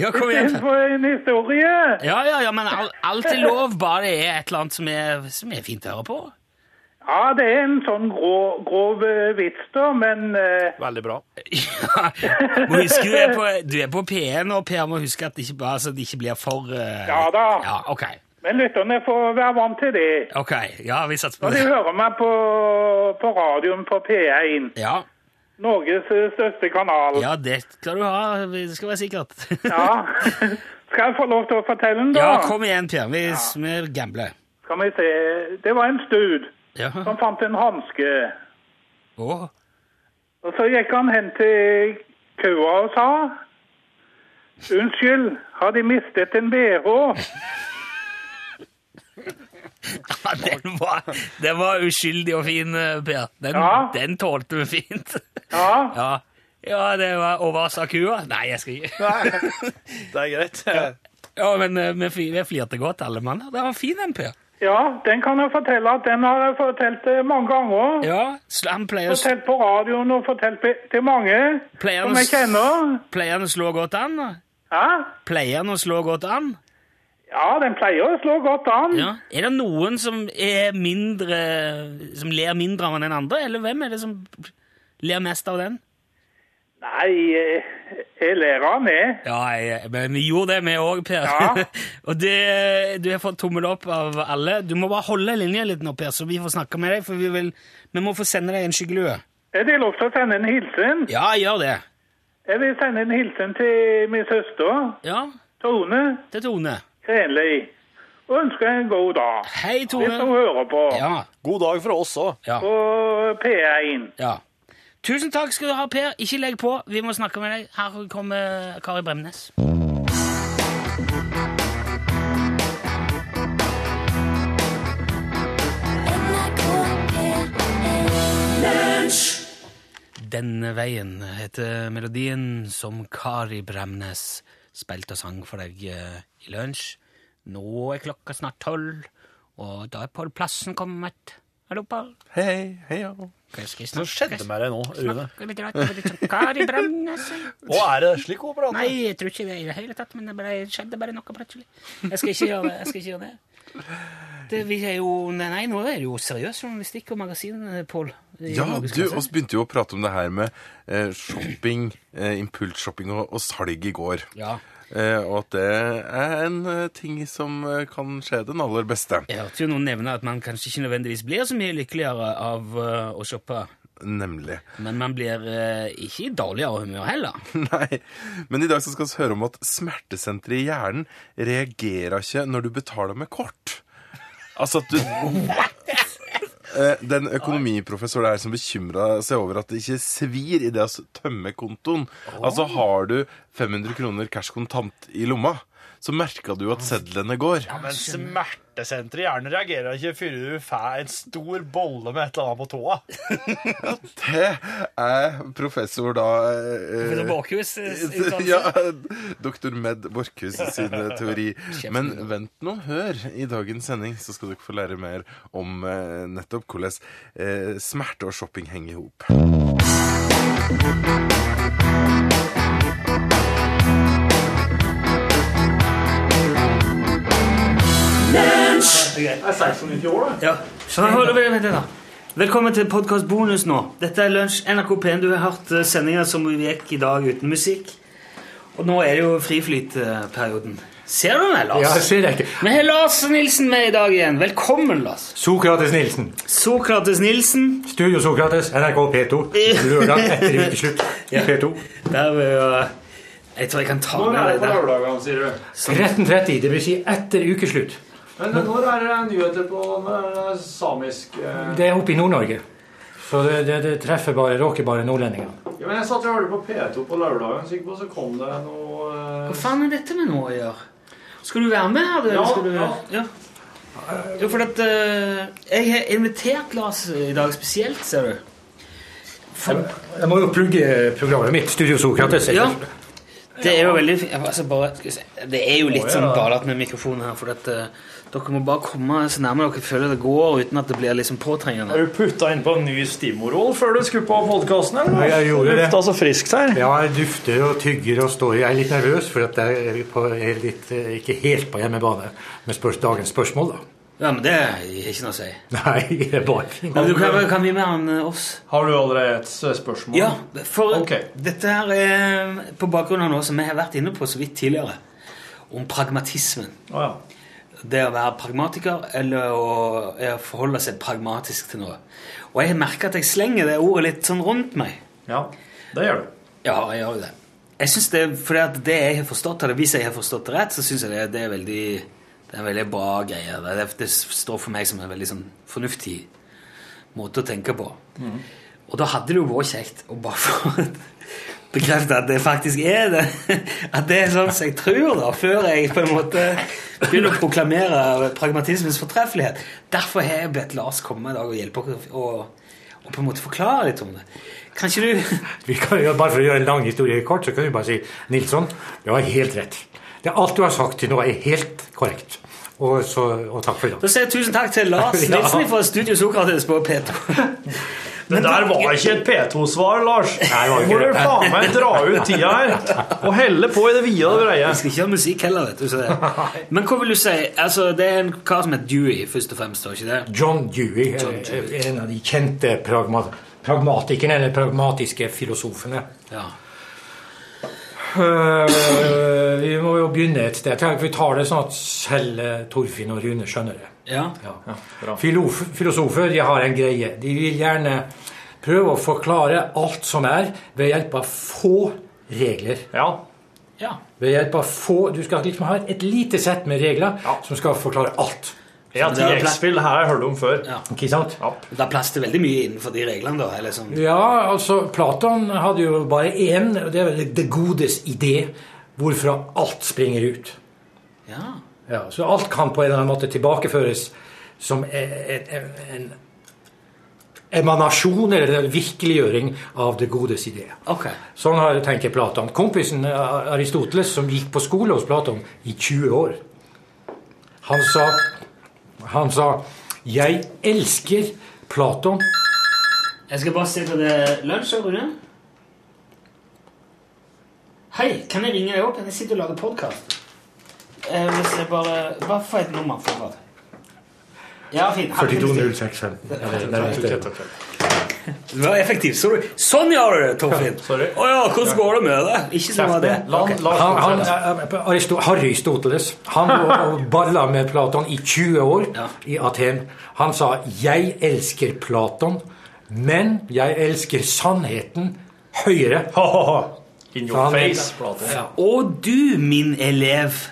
Ja, kom igjen. Per. Innenfor en historie. Ja, ja, ja, men al- alt er lov, bare det er et eller annet som er, som er fint å høre på. Ja, det er en sånn grå, grov eh, vits, da, men eh, Veldig bra. Ja, må huske du er på, du er på P1, og Per må huske at det ikke, bare, så det ikke blir for eh, Ja da. Ja, ok. men lytterne får være vant til det. Ok, ja, vi satser på Når de det. hører meg på, på radioen på P1, Ja, Norges eh, største kanal. ja, det skal du ha. Det skal være sikkert. Ja. Skal jeg få lov til å fortelle den, da? Ja, kom igjen, Per. Vi, vi gambler. Skal vi se. Det var en stud Ja. som fant en hanske. Å, Og så gikk han hen til køa og sa Unnskyld, har de mistet en bh? ja, den, var, den var uskyldig og fin, eh, Per. Den, Ja. den tålte vi fint. Ja. Ja. ja, det var Og hva sa kua? Nei, jeg skal ikke Det er greit. Ja, Ja, men eh, vi fli- vi flirte godt, alle mann. Den var fin, den, Per. ja, den kan jeg fortelle at den har jeg fortalt eh, mange ganger. Ja, sl- Han pleier, å s- Fortalt på radioen og fortalt pe- til mange Pleier som han jeg s- kjenner. pleier han å slå godt an? da? Ja? Pleier han å slå godt an? ja, den pleier å slå godt an. Ja. Er det noen som er mindre Som ler mindre av den andre, eller hvem er det som ler mest av den? Nei, eh, jeg ler av meg. Ja, jeg, men vi gjorde det, vi òg, Per. Ja. og det, du har fått tommel opp av alle. Du må bare holde linja litt nå, Per, så vi får snakke med deg, for vi, vil, vi må få sende deg en skyggelue. Er det lov til å sende en hilsen? Ja, gjør det. Jeg vil sende en hilsen til min søster, Ja, Tone til Tone. Krenli. Og ønsker en god dag. Hei, Hvis hun Tone. hører på. Ja, God dag fra oss òg. ja, På P1. ja. Tusen takk skal du ha, Per. Ikke legg på. Vi må snakke med deg. Her kommer Kari Bremnes. Denne veien heter melodien som Kari Bremnes spilte og sang for deg eh, i lunsj. Nå er klokka snart tolv, og da er Pål Plassen kommet. Hallo, Pål. Hei, hei, ja. Hva Hva skal jeg snakke? skjedde med deg nå, Rune? Snakke litt rart over litt sånn Kari Bremnes. Å, er det slik hun prater? Nei, jeg tror ikke det i det hele tatt, men det bare, skjedde bare noe plutselig. Jeg skal ikke gjøre det. Jeg skal ikke gjøre det. Det, vi er jo, nei, nei, nå er det jo seriøs journalistikk og magasin, eh, Pål. i Ja, Norges du, klasse. oss begynte jo å prate om det her med eh, shopping, eh, impulsshopping og, og salg i går. Ja. Eh, og at det er en eh, ting som eh, kan skje den aller beste. Jeg hørte jo noen nevne at man kanskje ikke nødvendigvis blir så mye lykkeligere av eh, å shoppe, Nemlig. men man blir eh, ikke i dårligere humør heller. Nei. Men i dag så skal vi høre om at smertesenteret i hjernen reagerer ikke når du betaler med kort. Altså at du eh, den økonomiprofessor der som bekymra seg over at det ikke svir i det å s- tømme kontoen. Altså, har du 500 kroner cash kontant i lomma, så merka du at sedlene går. Men smertesenteret i hjernen reagerer ikke før du får en stor bolle med et eller annet på tåa. Det er professor da eh, Professor Borchhus, eh, utdannelse. Ja, doktor Med Borchhus sin eh, teori. Men vent nå, hør. I dagens sending så skal dere få lære mer om eh, nettopp hvordan eh, smerte og shopping henger i hop. Jeg er 16 år, da. Ja. Sånn, hold over med det da. Velkommen til podkast bonus nå. Dette er Lunsj NRK P1. Du har hørt eh, sendinger som gikk i dag uten musikk. Og nå er det jo friflytperioden. Ser du meg, Lars? Ja, jeg ser deg ikke. Vi har Lars Nilsen med i dag igjen. Velkommen, Lars. Sokrates Nilsen. Sokrates Nilsen. Studio Sokrates, NRK P2. Lørdag etter ukeslutt. Ja. P2. Der vil jeg, jeg tror jeg kan ta med deg der. lørdagene, sier du? 13.30, det vil si etter ukeslutt. Men når er det nyheter på når er det samisk eh? Det er oppe i Nord-Norge. Så det, det, det treffer bare, råker bare nordlendinger. ja, men Jeg satt og hørte på P2 på lørdagen, så, på, så kom det noe eh, Hva faen er dette med nå å gjøre? Skal du være med her? eller Ja, skal du... ja. Jo, for at, eh, jeg har invitert Lars i dag spesielt, ser du. For, Jeg må jo plugge programmet mitt, Studio Sokrates. ja. Det er jo veldig fint. Altså bare, skal vi se. det er jo litt Å, ja. sånn galet med mikrofonen her, for at, eh, dere må bare komme så nærme dere føler det går, uten at det blir liksom påtrengende. Har du putta innpå en ny stimorol før du skulle på podkasten? Ja, jeg gjorde det. Lufta så friskt her. Ja, jeg dufter og tygger og står. Jeg er litt nervøs, for at jeg er, på, jeg er litt, eh, ikke helt på hjemmebane med spørs, dagens spørsmål, da. Ja, men det har ikke noe å si. Nei, det er bare Men du kan, kan vi mer enn oss? Har du allerede et s- spørsmål? Ja, for Ok. dette her er eh, på bakgrunn av noe som vi har vært inne på så vidt tidligere, om pragmatismen. Å ja. Det å være pragmatiker eller å eh, forholde seg pragmatisk til noe. Og jeg merker at jeg slenger det ordet litt sånn rundt meg. Ja, det gjør du. Ja, jeg gjør jo det. Jeg synes det, fordi at det jeg har forstått av det, Hvis jeg har forstått det rett, så syns jeg det, det er veldig det er en veldig bra greie. Det, det står for meg som en veldig sånn fornuftig måte å tenke på. Og da hadde det jo vært kjekt å bare få bekrefte at det faktisk er det. At det er sånn som jeg tror, da, før jeg på en måte begynner å proklamere pragmatismens fortreffelighet. Derfor har jeg bedt Lars komme i dag og hjelpe oss å og på en måte forklare litt om det. Kan ikke du Vi kan jo, bare for å gjøre en lang historie kort, så kan vi bare si Nilsson, du har helt rett. Det er alt du har sagt til nå, er helt korrekt. Og, så, og takk for i dag. Da sier jeg tusen takk til Lars Ja. Nilsen fra Studio Sokrates på P2. Det der var ikke et P2-svar, Lars. det var ikke Må det. dere faen meg dra ut tida her og helle på i det vide og det breie. Vi skal ikke ha musikk heller, vet du. Så det. Men hva vil du si? Altså, det er en kar som heter Dewey, først og fremst, var ikke det? John Dewey, eh, John Dewey. en av de kjente pragma pragmatikerne, eller pragmatiske filosofene. Ja. Eh, vi må jo begynne et sted. Jeg tenker Vi tar det sånn at selv eh, Torfinn og Rune skjønner det. Ja. Filof filosofer de har en greie. De vil gjerne prøve å forklare alt som er, ved hjelp av få regler. Ja. Ja. Ved hjelp av få Du skal liksom ha et lite sett med regler som skal forklare alt. Ja, Så det er plass- TX-spill her har jeg hørt om før. Ja. Ikke sant? Det er plass til veldig mye innenfor de reglene, da. Eller sånn. Ja, altså Platon hadde jo bare én, og det er vel det godes idé, hvorfra alt springer ut. Ja. Ja, Så alt kan på en eller annen måte tilbakeføres som en, en, en emanasjon eller en virkeliggjøring av det godes idé. Ok. Sånn har tenker Platon. Kompisen eh, Aristoteles, som gikk på skole hos Platon i 20 år, han sa, han sa 'Jeg elsker Platon'. Jeg skal bare se på det lunsj, Rune. Hei, kan jeg ringe deg opp? Jeg sitter og lager podkast. Eh, hvis jeg bare Hva for et nummer? For ja, fint. 42065. Eller, nei, vent, det- Du var effektiv. Så du. Sånn gjør du det, Torfinn! Sorry. Å ja, hvordan går det med deg? Ikke sånn var det. La han- Ok. la Han, han- han, eh, Aristo- Aristoteles han og- og balla med Platon i 20 år Ja. i Aten. Han sa 'Jeg elsker Platon, men jeg elsker sannheten høyere'. In Så your han- face, Platon. Ja. Og du, min elev.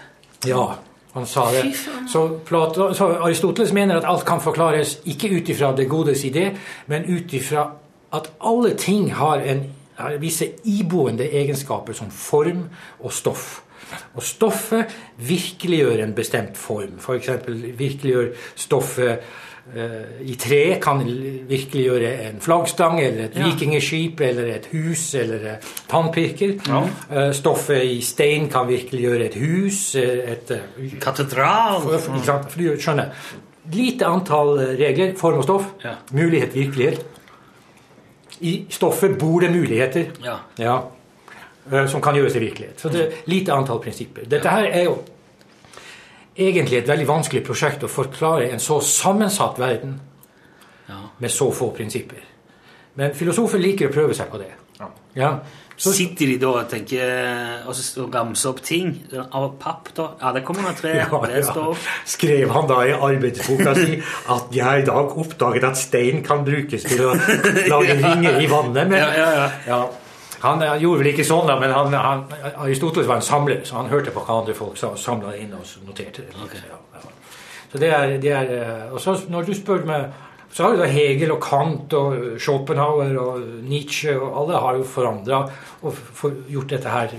Ja. Han sa det. Så, Platon, så Aristoteles mener at alt kan forklares ikke ut ifra det godes idé, men ut ifra at alle ting har, en, har visse iboende egenskaper som form og stoff. Og stoffet virkeliggjør en bestemt form. F.eks. For virkeliggjør stoffet eh, i tre kan virkeliggjøre en flaggstang eller et Ja. vikingskip eller et hus eller eh, tannpirker. Eh, Stoffet i stein kan virkeliggjøre et hus, eh, et eh, Katedral. Mm. For, for, ikke sant? for du skjønner. Lite antall eh, regler, form og stoff. Mulighet, virkelighet. I stoffet bor det muligheter Ja. ja, eh, som kan gjøres til virkelighet. Så det er lite antall prinsipper. Dette her er jo egentlig et veldig vanskelig prosjekt å forklare en så sammensatt verden med så få prinsipper. Men filosofer liker å prøve seg på det. Ja. Sitter de da og tenker og så ramser opp ting av papp, da? Ja, det kommer under tre. Ja, det ja. står opp. Skrev han da i arbeidsboka si at jeg i dag oppdaget at stein kan brukes til å lage Ja. ringer i vannet? Men, Ja, ja, ja. Han, han gjorde vel ikke sånn, da, men han, han, Aristoteles var en samler, så han hørte på hva andre folk sa, samla inn og noterte det. Ja, ja. Så det er, det er eh, Og så når du spør meg så har jo da Hegel og Kant og Schopenhauer og Nietzsche og alle har jo forandra og for, gjort dette her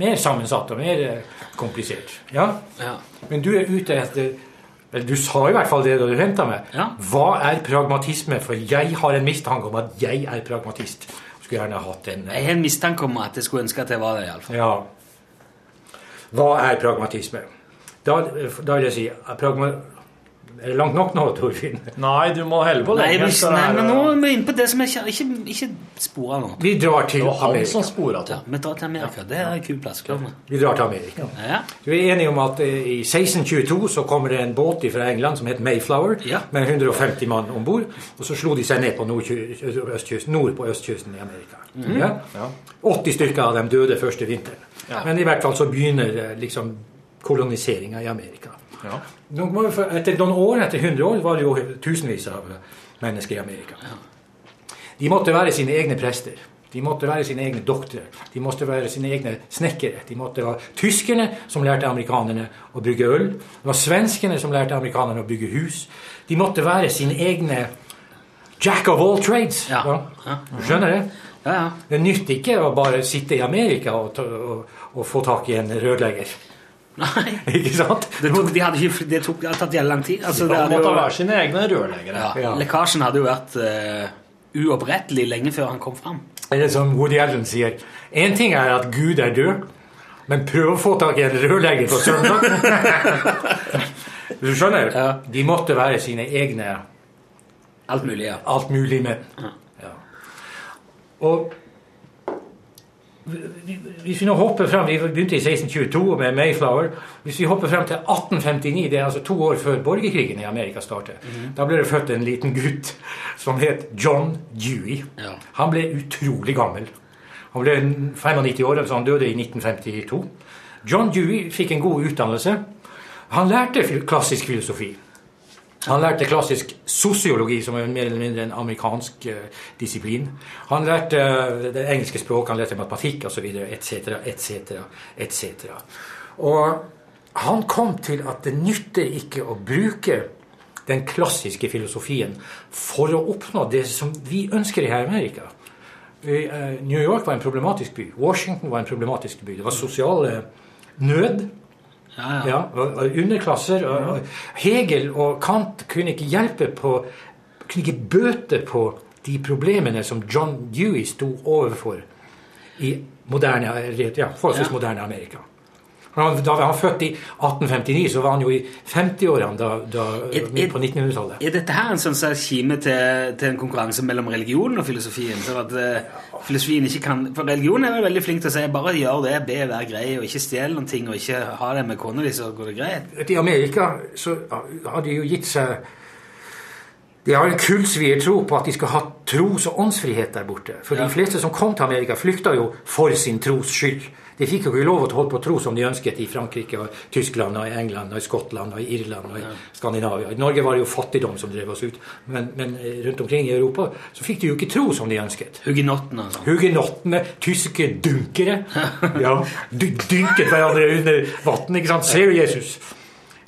mer sammensatt og mer eh, komplisert. Ja? Men du er ute etter eller Du sa i hvert fall det da du henta meg. Hva er pragmatisme? For jeg har en mistanke om at jeg er pragmatist. Skulle gjerne hatt en Jeg har en mistanke om at jeg skulle ønske at jeg var det, iallfall. Ja. Hva er pragmatisme? Da, da vil jeg si pragma, Er det langt nok nå, Torfinn? Nei, du må helle på Nei, lenge. men, så nei, er men det- nå er vi inne på det som jeg ikke, ikke, ikke sporer nå. Vi drar til Det var han Amerika. som sporet Ja, vi drar til Amerika. Det er en kul plass. Klar, med. Vi drar til Amerika. Du er enig om at eh, i 1622 så kommer det en båt fra England som het Mayflower, med 150 mann om bord. Og så slo de seg ned på nordkju- østkysten, nord på østkysten i Amerika. Mhm. Ja? 80 stykker av dem døde første vinteren. Men i hvert fall så begynner eh, liksom koloniseringa i Amerika. Nå må vi få- Etter noen år, etter 100 år, var det jo tusenvis av eh, mennesker i Amerika. De måtte være sine egne prester. De måtte være sine egne doktorer. De måtte være sine egne snekkere. De måtte være tyskerne som lærte amerikanerne å brygge øl. Det var svenskene som lærte amerikanerne å bygge hus. De måtte være sine egne jack of all trades. Ja. Skjønner du? Det nytter ikke å bare sitte i Amerika og, ta- og, og få tak i en rørlegger. Nei. ikke sant? Det tok, de hadde ikke, det tok det hadde tatt jævlig lang tid. Altså, Ja, det de hadde måtte jo- være sine egne rørleggere. Ja. Ja. Lekkasjen hadde jo vært eh, uopprettelig lenge før han kom fram. Eller som Woody Allen sier En ting er at Gud er død, men prøv å få tak i en rørlegger på søndag. du skjønner? De måtte være sine egne Alt mulig, ja. Alt mulig menn. Ja. Og hvis vi nå hopper frem, Vi begynte i 1622 med Mayflower. Hvis vi hopper frem til 1859, det er altså to år før borgerkrigen i Amerika starter, da ble det født en liten gutt som het John Dewey. Han ble utrolig gammel. Han ble 95 år, så han døde i 1952. John Dewey fikk en god utdannelse. Han lærte fil- klassisk filosofi. Han lærte klassisk sosiologi, som er mer eller mindre en amerikansk eh, disiplin. Han lærte eh, det engelske språk, han lærte matematikk osv., etc., etc., etc. Og han kom til at det nytter ikke å bruke den klassiske filosofien for å oppnå det som vi ønsker her i Amerika. I, eh, New York var en problematisk by. Washington var en problematisk by. Det var sosial eh, nød. Ja, og, og underklasser. Og, og Hegel og Kant kunne ikke hjelpe på Kunne ikke bøte på de problemene som John Dewey sto overfor i moderne, ja, forholdsvis moderne Amerika. Han, da var han født i 1859, så var han jo i 50-årene da, da, midt på 1900-tallet. Er dette her en sånn slags kime til, til en konkurranse mellom religionen og filosofien? Sånn at eh, filosofien ikke kan For religionen er vel veldig flink til å si bare gjør det, be, vær grei, og ikke stjel noen ting, og ikke ha det med kona di, så går det greit. I Amerika så har de jo gitt seg De har en kullsvier tro på at de skal ha tros- og åndsfrihet der borte. For de fleste som kom til Amerika, flykta jo for sin tros skyld. De fikk jo ikke lov til å holde på å tro som de ønsket i Frankrike, og Tyskland, og i England, og i Skottland, og i Irland og i Skandinavia. I Norge var det jo fattigdom som drev oss ut, men, men eh, rundt omkring i Europa så fikk de jo ikke tro som de ønsket. Hugenottene og sånn. Hugenottene, tyske dunkere, ja, dy- dynket hverandre under vann. Ikke sant? Ser du Jesus?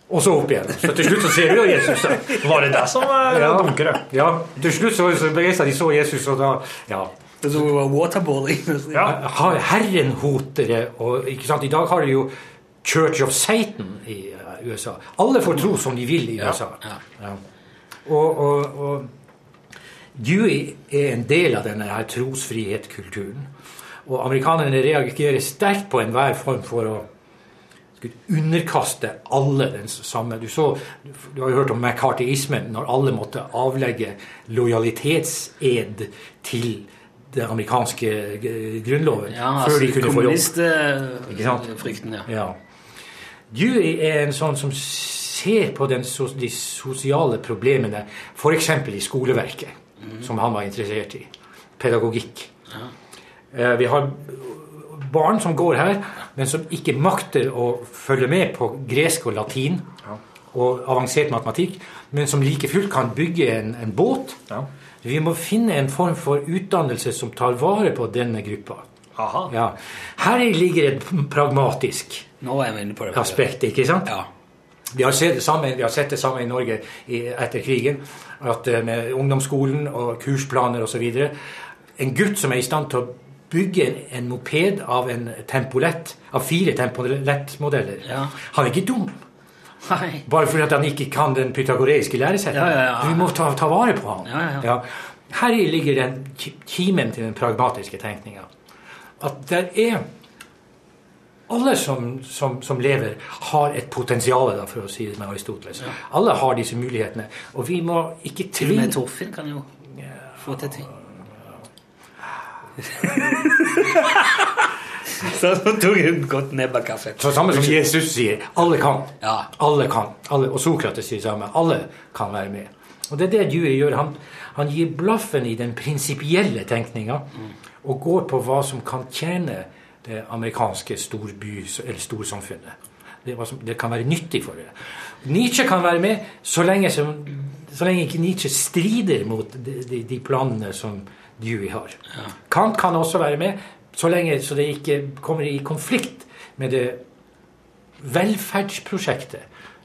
og så opp igjen. Så til slutt så ser du jo Jesus. Da. Var det det som var ja. dunkere? Ja. Til slutt så, så begeistra de så Jesus, og da ja. Det var waterboarding. Ja, har- Herren hotere, og ikke sant? I dag har de jo Church of Satan i eh, USA. Alle får tro som de vil i altså. Ja. USA. Ja. Og, og, og Dewey er en del av denne her trosfrihet-kulturen. Og amerikanerne reagerer sterkt på enhver form for å skulle underkaste alle den samme. Du, så, du har jo hørt om McCarthyismen, når alle måtte avlegge lojalitetsed til den amerikanske eh, grunnloven altså. før de kunne få jobb. Ikke sant? kommunistfrykten, ja. Ja. Dewey er en sånn som ser på den, sos- de sosiale problemene, f.eks. i skoleverket, som han var interessert i. Pedagogikk. Ja. Eh, Vi har barn som går her, men som ikke makter å følge med på gresk og latin og avansert matematikk, men som like fullt kan bygge en, en båt. Vi må finne en form for utdannelse som tar vare på denne gruppa. Ja. Her ligger et pragmatisk Nå er vi inne på det. aspekt, ikke sant? Vi har, sett det samme, vi har sett det samme i Norge i, etter krigen, at eh, med ungdomsskolen og kursplaner osv. En gutt som er i stand til å bygge en, en moped av en Tempolet, av fire Tempolet-modeller, han er ikke dum. Nei. Bare fordi at han ikke kan den pythagoreiske læresetningen. Ja, ja, ja. Vi må ta, ta vare på han. Ja, ja, ja. Her i ligger den ki- kimen til den pragmatiske tenkninga. At det er Alle som, som, som lever, har et potensial, da, for å si det med Aristoteles. Alle har disse mulighetene. Og vi må Til ikke og tvinge med Torfinn kan jo få til ting. Så tok hun godt nebb av kaffen. Så samme som Jesus sier. Alle kan. Ja. Alle kan. Alle, og Sokrates sier samme. Alle kan være med. Og det er det Dewey gjør. Han, han gir blaffen i den prinsipielle tenkninga og går på hva som kan tjene det amerikanske storby, eller storsamfunnet. Det, er hva som, det kan være nyttig for det. Nietzsche kan være med så lenge, som, så lenge ikke Nietzsche strider mot de, de, de planene som Dewey har. Kant kan også være med så lenge så det ikke kommer i konflikt med det velferdsprosjektet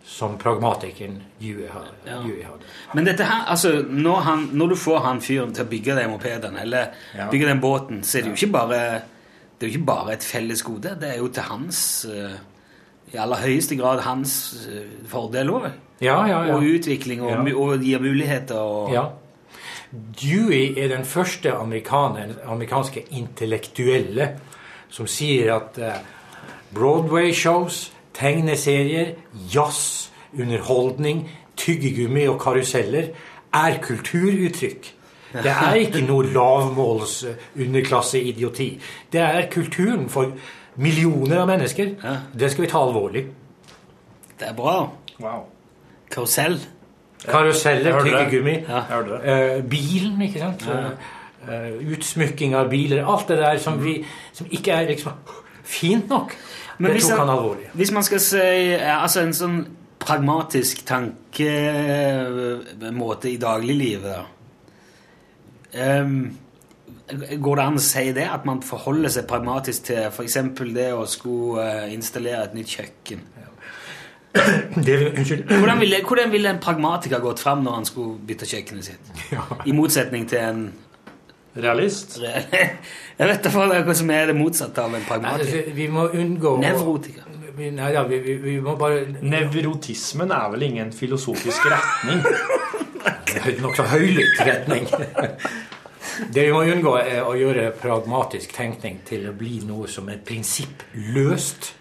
som pragmatikeren Dewey har- Dewey hadde. Men dette her, altså, når, han, når du får han fyren til å bygge de mopedene, eller Ja. bygge den båten, så er det jo ikke bare, det er jo ikke bare et felles gode. Det er jo til hans eh, I aller høyeste grad hans eh, fordel òg. Ja, ja, ja. Og utvikling, og, Ja. mu- og gir muligheter og Ja. Dewey er den første amerikaner, amerikanske intellektuelle som sier at eh, Broadway-shows, tegneserier, jazz, underholdning, tyggegummi og karuseller er kulturuttrykk. Det er ikke noe lavmåls eh, underklasseidioti. Det er kulturen for millioner av mennesker. Det skal vi ta alvorlig. Det er bra. Karusell. Karuseller, Hørte du det? tyggegummi, Ja. Hørte du eh, bilen, ikke sant? Ja, ja. Eh, utsmykking av biler, alt det der som, vi, som ikke er liksom fint nok. Men det hvis tok han han- alvorlig. Hvis man skal si ja, altså en sånn pragmatisk tankemåte i dagliglivet da. Ehm, Går det an å si det? At man forholder seg pragmatisk til f.eks. det å skulle eh, installere et nytt kjøkken? Det- unnskyld. Hvordan ville, hvordan ville en pragmatiker gått fram når han skulle bytte kjøkkenet sitt? I motsetning til en Realist? Jeg vet da faen hva som er det motsatte av en Nei, pragmatiker. altså, vi må unngå Nevrotiker. Vi- Nei, ja, vi, vi, vi må bare Nevrotismen er vel ingen filosofisk retning? Nokså høylytt retning. Det vi må unngå, er å gjøre pragmatisk tenkning til å bli noe som er prinsippløst.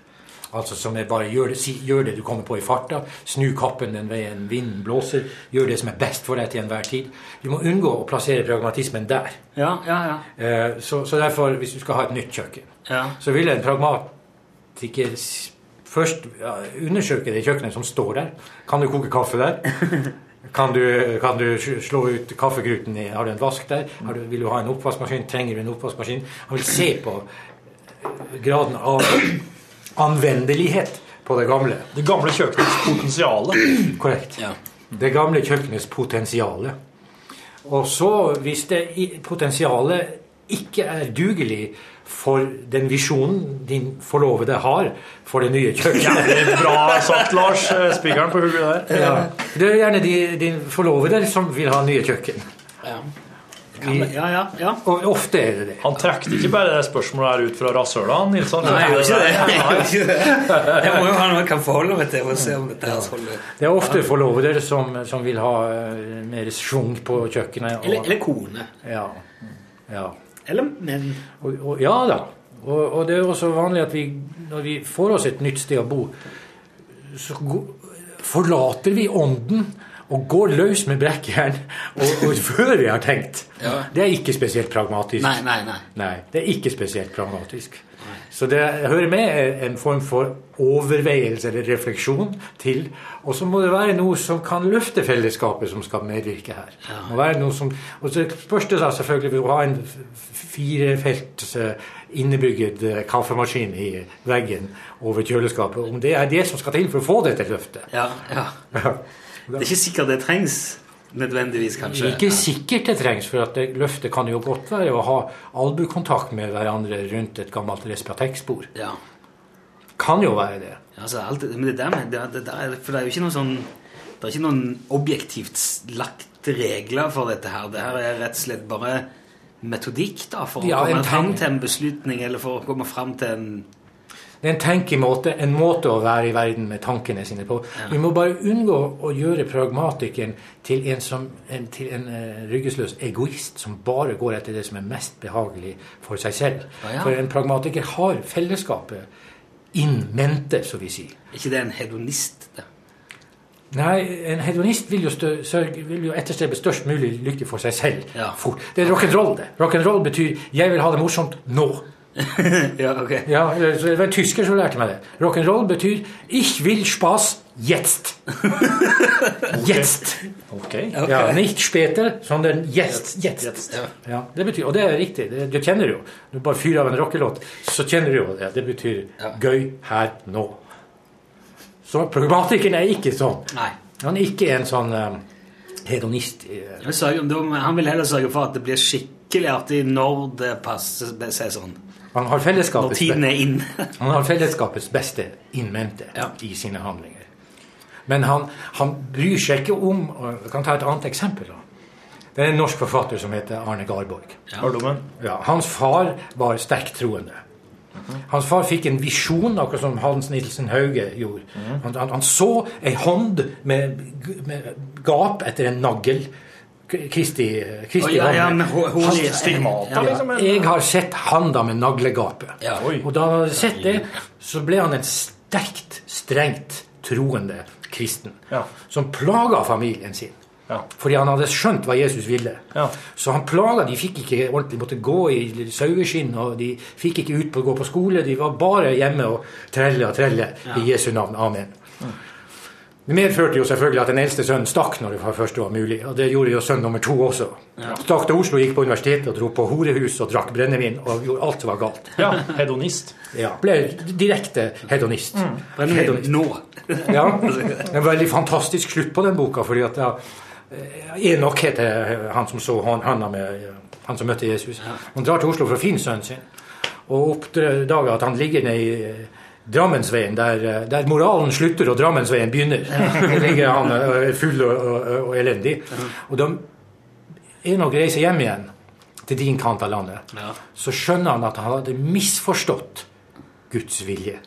Altså som er bare gjør det, si, gjør det du kommer på i farta. Snu kappen den veien vinden blåser. Gjør det som er best for deg til enhver tid. Du må unngå å plassere pragmatismen der. Ja, ja, ja. Eh, Så, så derfor, hvis du skal ha et nytt kjøkken, ja. så vil en pragmatiker s- først ja, undersøke det kjøkkenet som står der. Kan du koke kaffe der? Kan du, kan du sl- slå ut kaffegruten i Har du en vask der? Har du, vil du ha en oppvaskmaskin? Trenger du en oppvaskmaskin? Han vil se på eh, graden av anvendelighet på det gamle. Det gamle kjøkkenets potensial. Korrekt. Det gamle kjøkkenets potensial. Og så, hvis det i- potensialet ikke er dugelig for den visjonen din forlovede har for det nye kjøkkenet. Jævlig bra sagt, Lars. Spikeren på hugget der. Ja. Det er gjerne de, din forlovede som vil ha nye kjøkken. Ja, ja, ja. Og ofte er det det. Han trakk ikke bare det spørsmålet her ut fra rasshøla, Nilsson. Nei, jeg gjør altså, ikke det. Jeg gjør Nei. ikke det. Jeg må jo ha noe jeg kan forholde meg til for å se om dette her holder. Det er ofte forlovede som, som vil ha eh, mer schwung på kjøkkenet. Eller, eller kone. Ja. ja. Eller menn. Og, og, ja da. Og, og det er også vanlig at vi, når vi får oss et nytt sted å bo, så gå, forlater vi ånden og går løs med brekkjern og, og før vi har tenkt. Ja. Det er ikke spesielt pragmatisk. Nei, nei, nei. Nei, det er ikke spesielt pragmatisk. Så det hører med en form for overveielse eller refleksjon til. Og så må det være noe som kan løfte fellesskapet som skal medvirke her. Det Må være noe som, og så spørs det da selvfølgelig vil du ha en f- f- firefelts eh, innebygget eh, kaffemaskin i veggen over kjøleskapet. Om det er det som skal til for å få dette løftet. Ja, ja. Det er ikke sikkert det trengs nødvendigvis, Det kanskje. er ikke sikkert det trengs, for at det- løftet kan jo godt være å ha albukontakt med hverandre rundt et gammelt respatex-bord. Ja. Kan jo være det. Ja, altså, alt, men det der, med- det, det der, er- for det er jo ikke noen sånn Det er ikke noen objektivt s- lagt regler for dette her. Det her er rett og slett bare metodikk da, for å Ja, en komme fram tanke. til en beslutning, eller for å komme fram til en Det er en tenkemåte, en måte å være i verden med tankene sine på. Vi må bare unngå å gjøre pragmatikeren til en, som, en, til en eh, ryggesløs egoist som bare går etter det som er mest behagelig for seg selv. Ja, ja. For en pragmatiker har fellesskapet in mente, så vi sier. Er ikke det en hedonist? Det? Nei, en hedonist vil jo, stø sørge, vil jo etterstrebe størst mulig lykke for seg selv. Ja. Fort. Det er rock'n'roll, det. Rock'n'roll betyr 'jeg vil ha det morsomt nå'. ja, ok. Ja, så det var en tysker som lærte meg det. Rock'n'roll betyr 'Ich will Spaß jetzt'. Jetzt. Ok. Ja, nicht später, sondern jetzt. jetzt. Ja, det betyr, og det er riktig. Det, du kjenner det jo. Du bare fyrer av en rockelåt, så kjenner du jo det. Det betyr 'gøy her nå'. Så pragmatikeren er ikke sånn. Nei. Han er ikke en sånn eh, hedonist. eh, Jeg vil sørge- da- Han vil heller sørge for at det blir skikkelig artig når det passer seg sånn. Han har Når fellesskapets, tiden er inne. han har fellesskapets beste in mente i sine handlinger. Men han, han bryr seg ikke om og Jeg kan ta et annet eksempel. da. Det er en norsk forfatter som heter Arne Garborg. Ja, hans far var sterkt troende. Hans far fikk en visjon, akkurat som Hans Nielsen Hauge gjorde. Han, han, han så ei hånd med, med gap etter en nagl. K- Kristi, Kristi Å, ja, hånd. ja, men ho- hun- Han- stigmata, Ja, liksom, eller? Jeg har sett handa med naglegapet. Ja. Og da han hadde sett det, så ble han en sterkt, strengt troende kristen. Som plaga familien sin. Fordi han hadde skjønt hva Jesus ville. Så han plaga. De fikk ikke ordentlig måtte gå i saueskinn, og de fikk ikke ut på å gå på skole. De var bare hjemme og trelle og trelle i Ja. Jesu navn. Amen. Det medførte jo selvfølgelig at den eldste sønnen stakk når det var først var mulig. Og det gjorde jo sønn nummer to også. Ja. Stakk til Oslo, gikk på universitetet og dro på horehus og drakk brennevin og gjorde alt som var galt. Ja, hedonist. Ja, ble direkte hedonist. Brennevin Hedonist. nå. Ja, En veldig fantastisk slutt på den boka. fordi at ja, eh, Enok heter han som så han, han, med, han som møtte Jesus. Han drar til Oslo for å finne sønnen sin. Og oppdager at han ligger nede i eh, Drammensveien, der, eh, der moralen slutter og Drammensveien begynner. Der ligger han eh, full og, og, og elendig. Og da Enok reiser hjem igjen til din kant av landet. Ja. Så skjønner han at han hadde misforstått Guds vilje.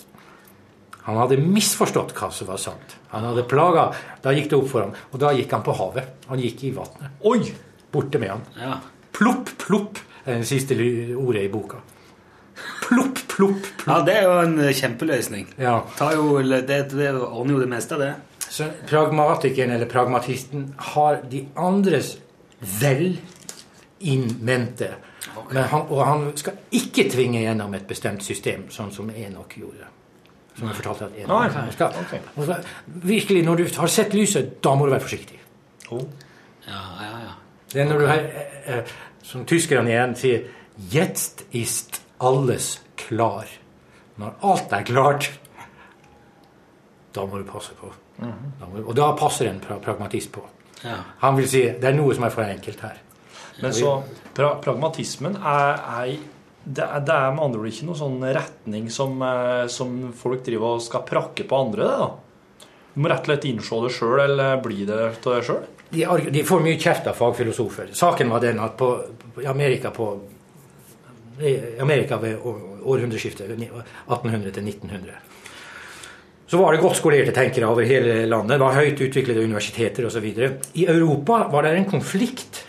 Han hadde misforstått hva som var sant. Han hadde plaga. Da gikk det opp for ham. Og da gikk han på havet. Han gikk i vannet. Oi! Borte med han. Ja. Plopp, plopp er det siste ly- ordet i boka. Plopp, plopp. ja, det er jo en eh, kjempeløsning. Ja. Tar jo, det, det ordner jo det meste, det. Så pragmatikeren eller pragmatisten har de andres vel in mente. Men han, og han skal ikke tvinge gjennom et bestemt system, sånn som Enok gjorde. Som jeg fortalte at Nei, Enok han skal, han skal, Virkelig, når du har sett lyset, da må du være forsiktig. Ja, ja, ja. Det er når du har, eh, eh, som tyskerne igjen sier, 'Jetzt ist alles klar'. Når alt er klart, da må du passe på. Da må, du- og da passer en pra pragmatist på. Ja. Han vil si det er noe som er for enkelt her. Men så pra pragmatismen er, er det er, det er med andre ord ikke noen sånn retning som, eh, som folk driver og skal prakke på andre. det da. Du må rett og slett innse det sjøl, eller bli det av deg sjøl. De, arg- de får mye kjeft av fagfilosofer. Saken var den at på, i Amerika på i Amerika ved å- århundreskiftet ni- 1800 til 1900 så var det godt skolerte tenkere over hele landet. Det var høyt utviklede universiteter osv. I Europa var det en konflikt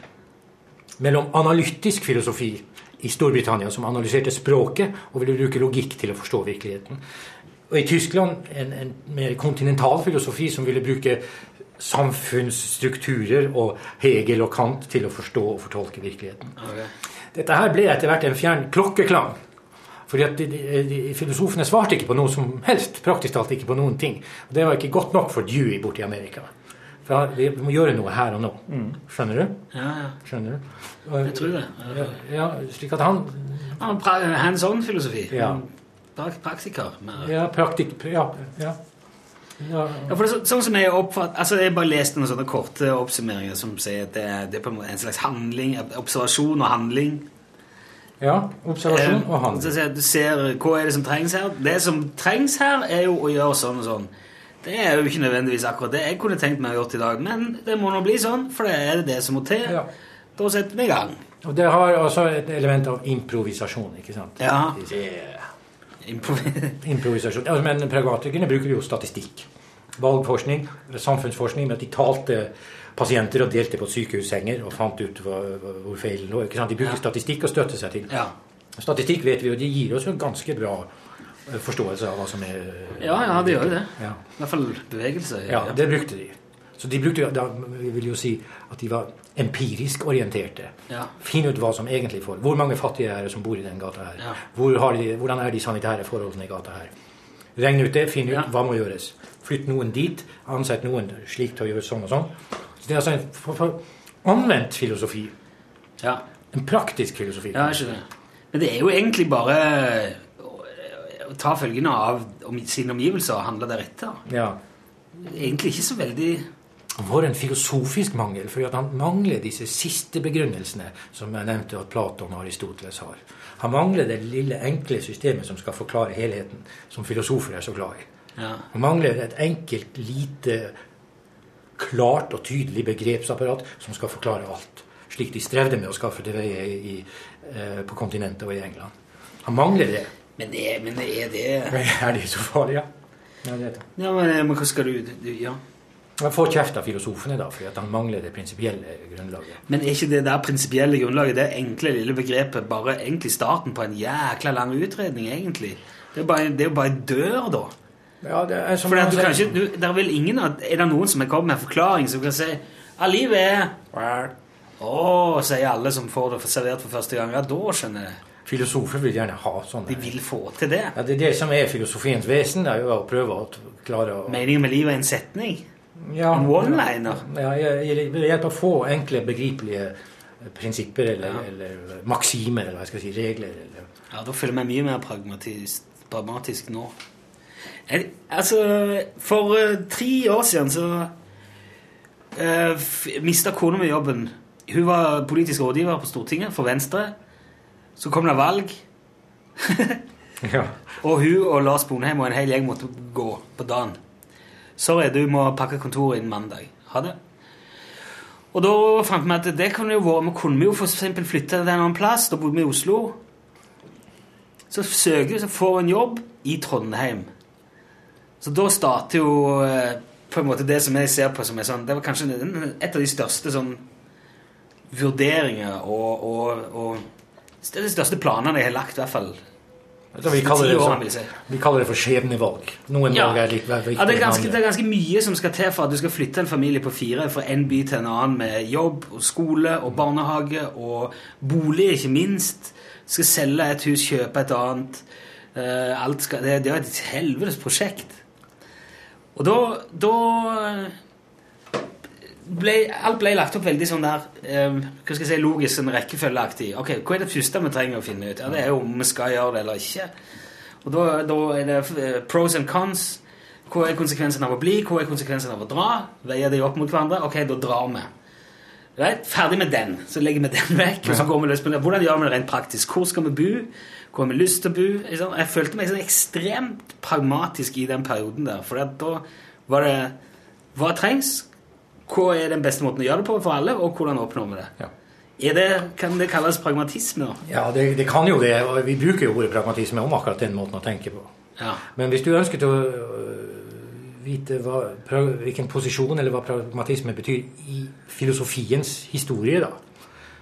mellom analytisk filosofi i Storbritannia, som analyserte språket og ville bruke logikk til å forstå virkeligheten, og i Tyskland en, en mer kontinental filosofi som ville bruke samfunnsstrukturer og Hegel og Kant til å forstå og fortolke virkeligheten. Dette her ble etter hvert en fjern klokkeklang. Fordi at de, de, de, Filosofene svarte ikke på noe som helst. praktisk talt ikke på noen ting. Og Det var ikke godt nok for Dewey borte i Amerika. For han- Vi må gjøre noe her og nå. Mm. Skjønner du? Ja, ja. Skjønner du? Jeg tror det. Ja, ja, slik at han Han pra hands on-filosofi. Ja. Pra- Praktiker. mer. Ja, praktik... Ja. ja. ja. Ja, for det er så, sånn som jeg oppfatt, altså jeg bare leste noen sånne korte oppsummeringer som sier at det, er- det er på en måte en slags handling, observasjon og handling. ja observasjon Eh, og handel. Så sier jeg, du ser hva er det som trengs her. Det som trengs her, er jo å gjøre sånn og sånn. Det er jo ikke nødvendigvis akkurat det jeg kunne tenkt meg å gjort i dag, men det må nå bli sånn, for det er det som må til. Da setter vi i gang. Og det har også et element av improvisasjon, ikke sant? Ja. improvisasjon. Ja, men pragmatikerne bruker jo statistikk. Valgforskning, samfunnsforskning, med at de talte pasienter og delte på sykehussenger og fant ut hva, hva- hvor feilen lå. ikke sant? De bruker statistikk å støtte seg til. Statistikk vet vi, og de gir oss jo en ganske bra eh, forståelse av hva som er Ja, ja, det gjør jo det. Ja. I hvert fall bevegelse. Ja, Eh, det brukte de. Så de brukte, jo- da vil jo si at de var empirisk orienterte. Ja. Finn ut hva som egentlig får. Hvor mange fattige er det som bor i den gata her? Ja. Hvor har de, hvordan er de sanitære forholdene i gata her? Regn ut det, finn ut hva må gjøres. Flytt noen dit, ansett noen slik til å gjøre sånn og sånn. Så det er altså en for, for anvendt filosofi. Ja. En praktisk filosofi. Ja, jeg skjønner. Men det er jo egentlig bare å- å ta følgene av om, sine omgivelser og handle deretter. Ja. Egentlig ikke så veldig var en filosofisk mangel, fordi at han mangler disse siste begrunnelsene som jeg nevnte at Platon og Aristoteles har. Han mangler det lille, enkle systemet som skal forklare helheten, som filosofer er så glad i. Ja. Han mangler et enkelt, lite, klart og tydelig begrepsapparat som skal forklare alt, slik de strevde med å skaffe til veie i, eh, på kontinentet og i England. Han mangler det. Men det, men det er det Er det så farlig, ja? Ja, det er det. Ja, men, eh, men hva skal du, du Ja. Han får kjeft av filosofene, da, fordi at han mangler det prinsipielle grunnlaget. Men er ikke det der prinsipielle grunnlaget, det enkle lille begrepet, bare egentlig starten på en jækla lang utredning, egentlig? Det er bare- det er jo bare en dør, da. Ja, det er som Fordi at du kan han- ikke, du, der vil ingen, at- er det noen som er kommet med en forklaring som kan si ja, livet er Å, sier alle som får det servert for første gang. Ja, da skjønner jeg. Filosofer vil gjerne ha sånne. De vil få til det. Ja, det er det som er filosofiens vesen, det er jo å prøve å klare å Meningen med livet er en setning. ja, en one-liner. Ja, jeg- ved hjelp av få enkle, begripelige eh, prinsipper eller, eller maksimer, eller hva jeg skal si, regler. Eller. Ja, da føler jeg meg mye mer pragmatisk, pragmatisk nå. Jeg, altså, for eh, tre år siden så uh, mista kona mi jobben. Hun var politisk rådgiver på Stortinget for Venstre. Så kom det valg, Ja. og hun og Lars Bonheim og en hel gjeng måtte gå på dagen. Sorry, du må pakke kontoret innen mandag. Ha det. Og da fant vi at det kunne jo være, vi kunne jo for eksempel flytte til en annen plass, da bodde vi i Oslo. Så søker hun, så får hun en jobb i Trondheim. Så da starter jo eh, på en måte det som jeg ser på som er sånn, det var kanskje en- et av de største sånn vurderinger og, og, og det er de største planene jeg har lagt i hvert fall. Så vi, kaller det Ti år, for, sånn- vil jeg si. vi kaller det for skjebnevalg. Noen Ja. valg er likevel Ja, det, er viktigere enn ganske, det andre. er ganske mye som skal til for at du skal flytte en familie på fire fra en by til en annen med jobb og skole og barnehage og bolig, ikke minst. Du skal selge et hus, kjøpe et annet. Eh, alt skal, det, det er jo et helvetes prosjekt. Og da, da ble, Alt ble lagt opp veldig sånn der eh, hva skal jeg si, logisk sånn rekkefølgeaktig. Ok, Hva er det første vi trenger å finne ut? Ja, Det er jo om vi skal gjøre det eller ikke. Og da, da er det eh, pros and cons. Hva er konsekvensen av å bli? Hva er konsekvensen av å dra? Veier de opp mot hverandre? Ok, da drar vi. Right? Ferdig med den. Så legger vi den vekk. Og så går vi løs på den. Hvordan gjør vi det rent praktisk? Hvor skal vi bo? Hvor har vi lyst til å bo? Ikke sant? Jeg følte meg sånn ekstremt pragmatisk i den perioden der. For at da var det Hva trengs? Hva er den beste måten å gjøre det på for alle? Og hvordan oppnår vi det? Er det kan det kalles pragmatisme? da? Ja, det, det kan jo det. og Vi bruker jo ordet pragmatisme om akkurat den måten å tenke på. Ja. Men hvis du ønsket å øh, vite hva, pra- hvilken posisjon eller hva pragmatisme betyr i filosofiens historie, da,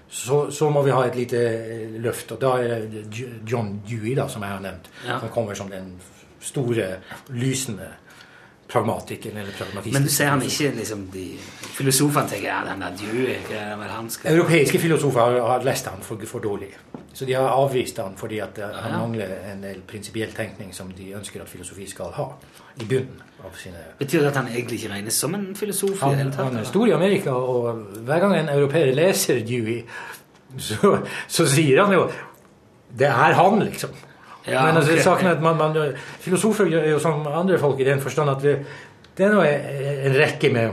så, så må vi ha et lite eh, løft. Og da er det Ju- John Dewey, da, som jeg har nevnt, Ja. som kommer som den store, lysende pragmatikeren eller pragmatisten. Men du ser han ikke liksom de Filosofene tenker ja, den der Dewey hva er det vel han skal Europeiske filosofer har, har lest han for, for dårlig. Så de har avvist han fordi at eh, han Ja. mangler en del prinsipiell tenkning som de ønsker at filosofi skal ha i bunnen av sine Betyr det at han egentlig ikke regnes som en filosof? i det Han, hele tatt, han er eller? stor i Amerika, og hver gang en europeer leser Dewey, så, så sier han jo Det er han, liksom. Ja, Men altså, ok. saken er at man, man, Filosofer gjør jo som andre folk i den forstand at vi, det er nå en en rekke med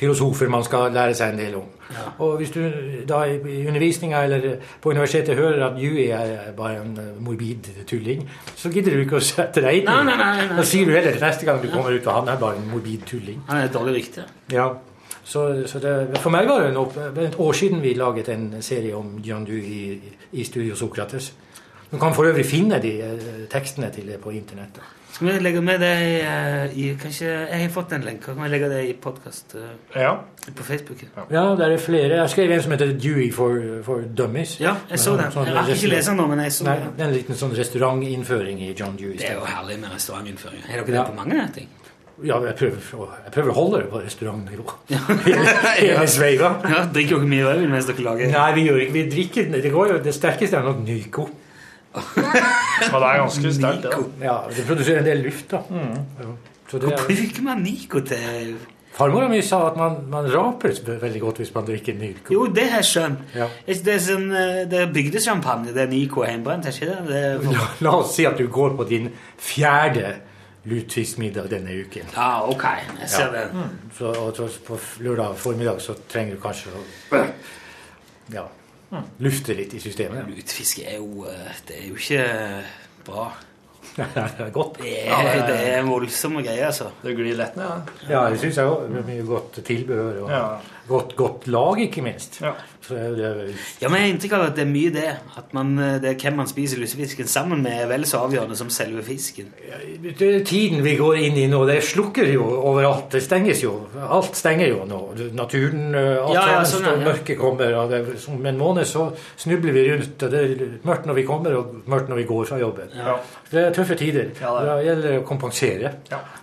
filosofer man skal lære seg en del om. Og hvis du da i i undervisninga eller på universitetet hører at Dewey er bare en morbid tulling, så gidder du ikke å sette deg inn i Nei, nei, det. nei, nei. Da sier du heller neste gang du kommer ut at han er bare en morbid tulling. Han er dårlig rykte. Ja. Så, så det, for meg var det en opp, et år siden vi laget en serie om John Dewey i, i Studio Sokrates. Du kan for øvrig finne de eh, tekstene til det på internettet. Skal vi legge med det i, eh, i Kanskje Jeg har fått en lenke. Kan vi legge det i podkast på Facebook? Ja. Ja, der er flere. Jeg skrev en som heter Dewey for, for Dummies. sånn Ja, jeg så den. Jeg rakk ikke lese den nå, men jeg så Nei, den. Det er en liten sånn restaurantinnføring i John Dewey. Det er jo herlig med restaurantutføring. Har dere Ja. det på mange ting? Ja, jeg prøver, å- jeg prøver å holde det på restaurantnivå. Ja. Hele sveiva. Ja, drikker dere mye rødvin mens dere lager Nei, vi gjør ikke Vi drikker Det, går jo, det sterkeste er nok Nyco. Ja, det er ganske sterkt, det. da. Ja, det produserer en del luft, da. Ja. Så det Hvor er, bruker man Nico til farmora mi sa at man, man raper ve- veldig godt hvis man drikker Nyco. Jo, det har jeg skjønt. Ja. Det er, sånn, eh, det er bygdesjampanje. Det er Nico hjemmebrent, er ikke det? det er La, la oss si at du går på din fjerde lutfiskmiddag denne uken. Ja, ok. Jeg ser Ja. det. Så, og så på f- lørdag formiddag så trenger du kanskje å ja, Mm. lufte litt i systemet. Lutfiske Mm. er jo eh, Det er jo ikke eh, bra. det er godt. Det Ja, er, det er- det er voldsomme greier, altså. Det glir lett ned. Ja, det syns jeg òg. Mye godt tilbehør og Ja. godt, godt lag, ikke minst. Så det er jo- Ja, men jeg har inntrykk av at det er mye det. At man, eh, det er hvem man spiser lusefisken sammen med, er vel så avgjørende som selve fisken. Det er tiden vi går inn i nå, det slukker jo overalt. Det stenges jo. Alt stenger jo nå. Naturen, eh, alt Ja, ja, sånn, sånn, ja. mørket kommer. Og det, som en måned så snubler vi rundt. Og det er mørkt når vi kommer, og mørkt når vi går fra jobben. Ja. Det er tøffe tider. Da gjelder det å kompensere.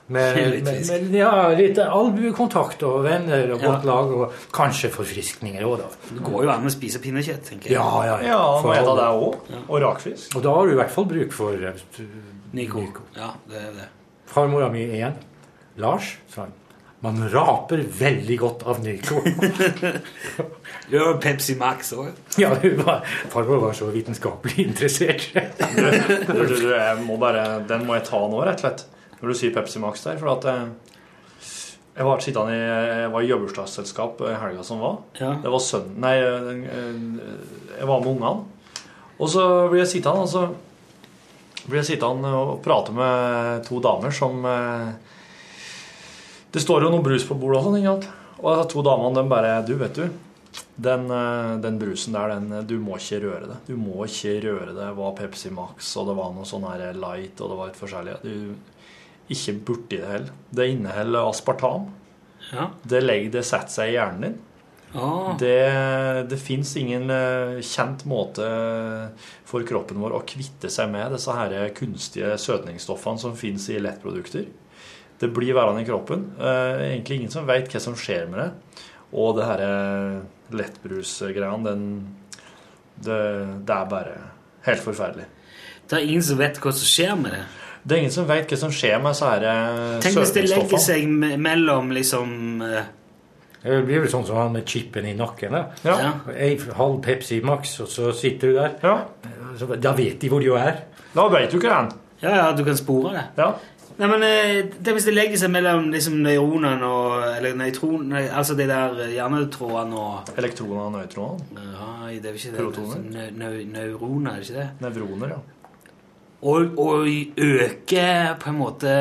Med, Litt med, fisk. med ja, litt albuekontakt og venner og godt lag, og kanskje forfriskninger òg, da. Det går jo an å spise pinnekjøtt, tenker jeg. Ja, ja, ja. Ja, For må jeg ta alle. det også? Og rakfisk? Og da har du i hvert fall bruk for eh, Nico. Ja, det er det. Farmora mi igjen. Lars, sa han. Man raper veldig godt av Nyco. Du har jo Pepsi Max òg. ja, hun var, farmor var så vitenskapelig interessert. Du, du, du, jeg må bare, den må jeg ta nå, rett og slett. Når du sier Pepsi Max der. For at eh, jeg var sittende i Jeg var i jobbursdagsselskap i helga som var. Det var sønn... Nei, eh, jeg var med ungene. Og så blir jeg sittende, og så blir jeg sittende og prate med to damer som eh, Det står jo noe brus på bordet og sånn, ikke sant? Og de to damene, de bare Du, vet du. Den, eh, den brusen der, den, eh, du må ikke røre det. Du må ikke røre det. Det var Pepsi Max, og det var noe sånn her light, og det var litt forskjellig. Du, ikke borti det heller. Det inneholder aspartam. Ja. Det, legger, det setter seg i hjernen din. Ah. Det, det fins ingen eh, kjent måte for kroppen vår å kvitte seg med disse her kunstige søtningsstoffene som fins i lettprodukter. Det blir værende i kroppen. Eh, Egentlig ingen som veit hva som skjer med det. Og det her eh, lettbrusgreiene, den det, det er bare helt forferdelig. Det er ingen som vet hva som skjer med det? Det er ingen som veit hva som skjer med disse her eh, Tenk hvis det legger søtningsstoffene. seg me- mellom liksom eh, Det blir vel sånn som han med chipen i nakken. da. Ei halv Pepsi Max, og så sitter du der. Ja. Så, da vet de hvor du er. Da veit du ikke den. Ja, ja, du kan spore det. Nei, men eh, det Hvis det legger seg mellom liksom, nøyronene og Eller nøytron... Nei, altså de der hjernetrådene og Elektroner og nøytroner? Nei, det er vel ikke det. Protoner? Nø, nø, neuroner, er det ikke det? Nevroner, ja. Og, og øker på en måte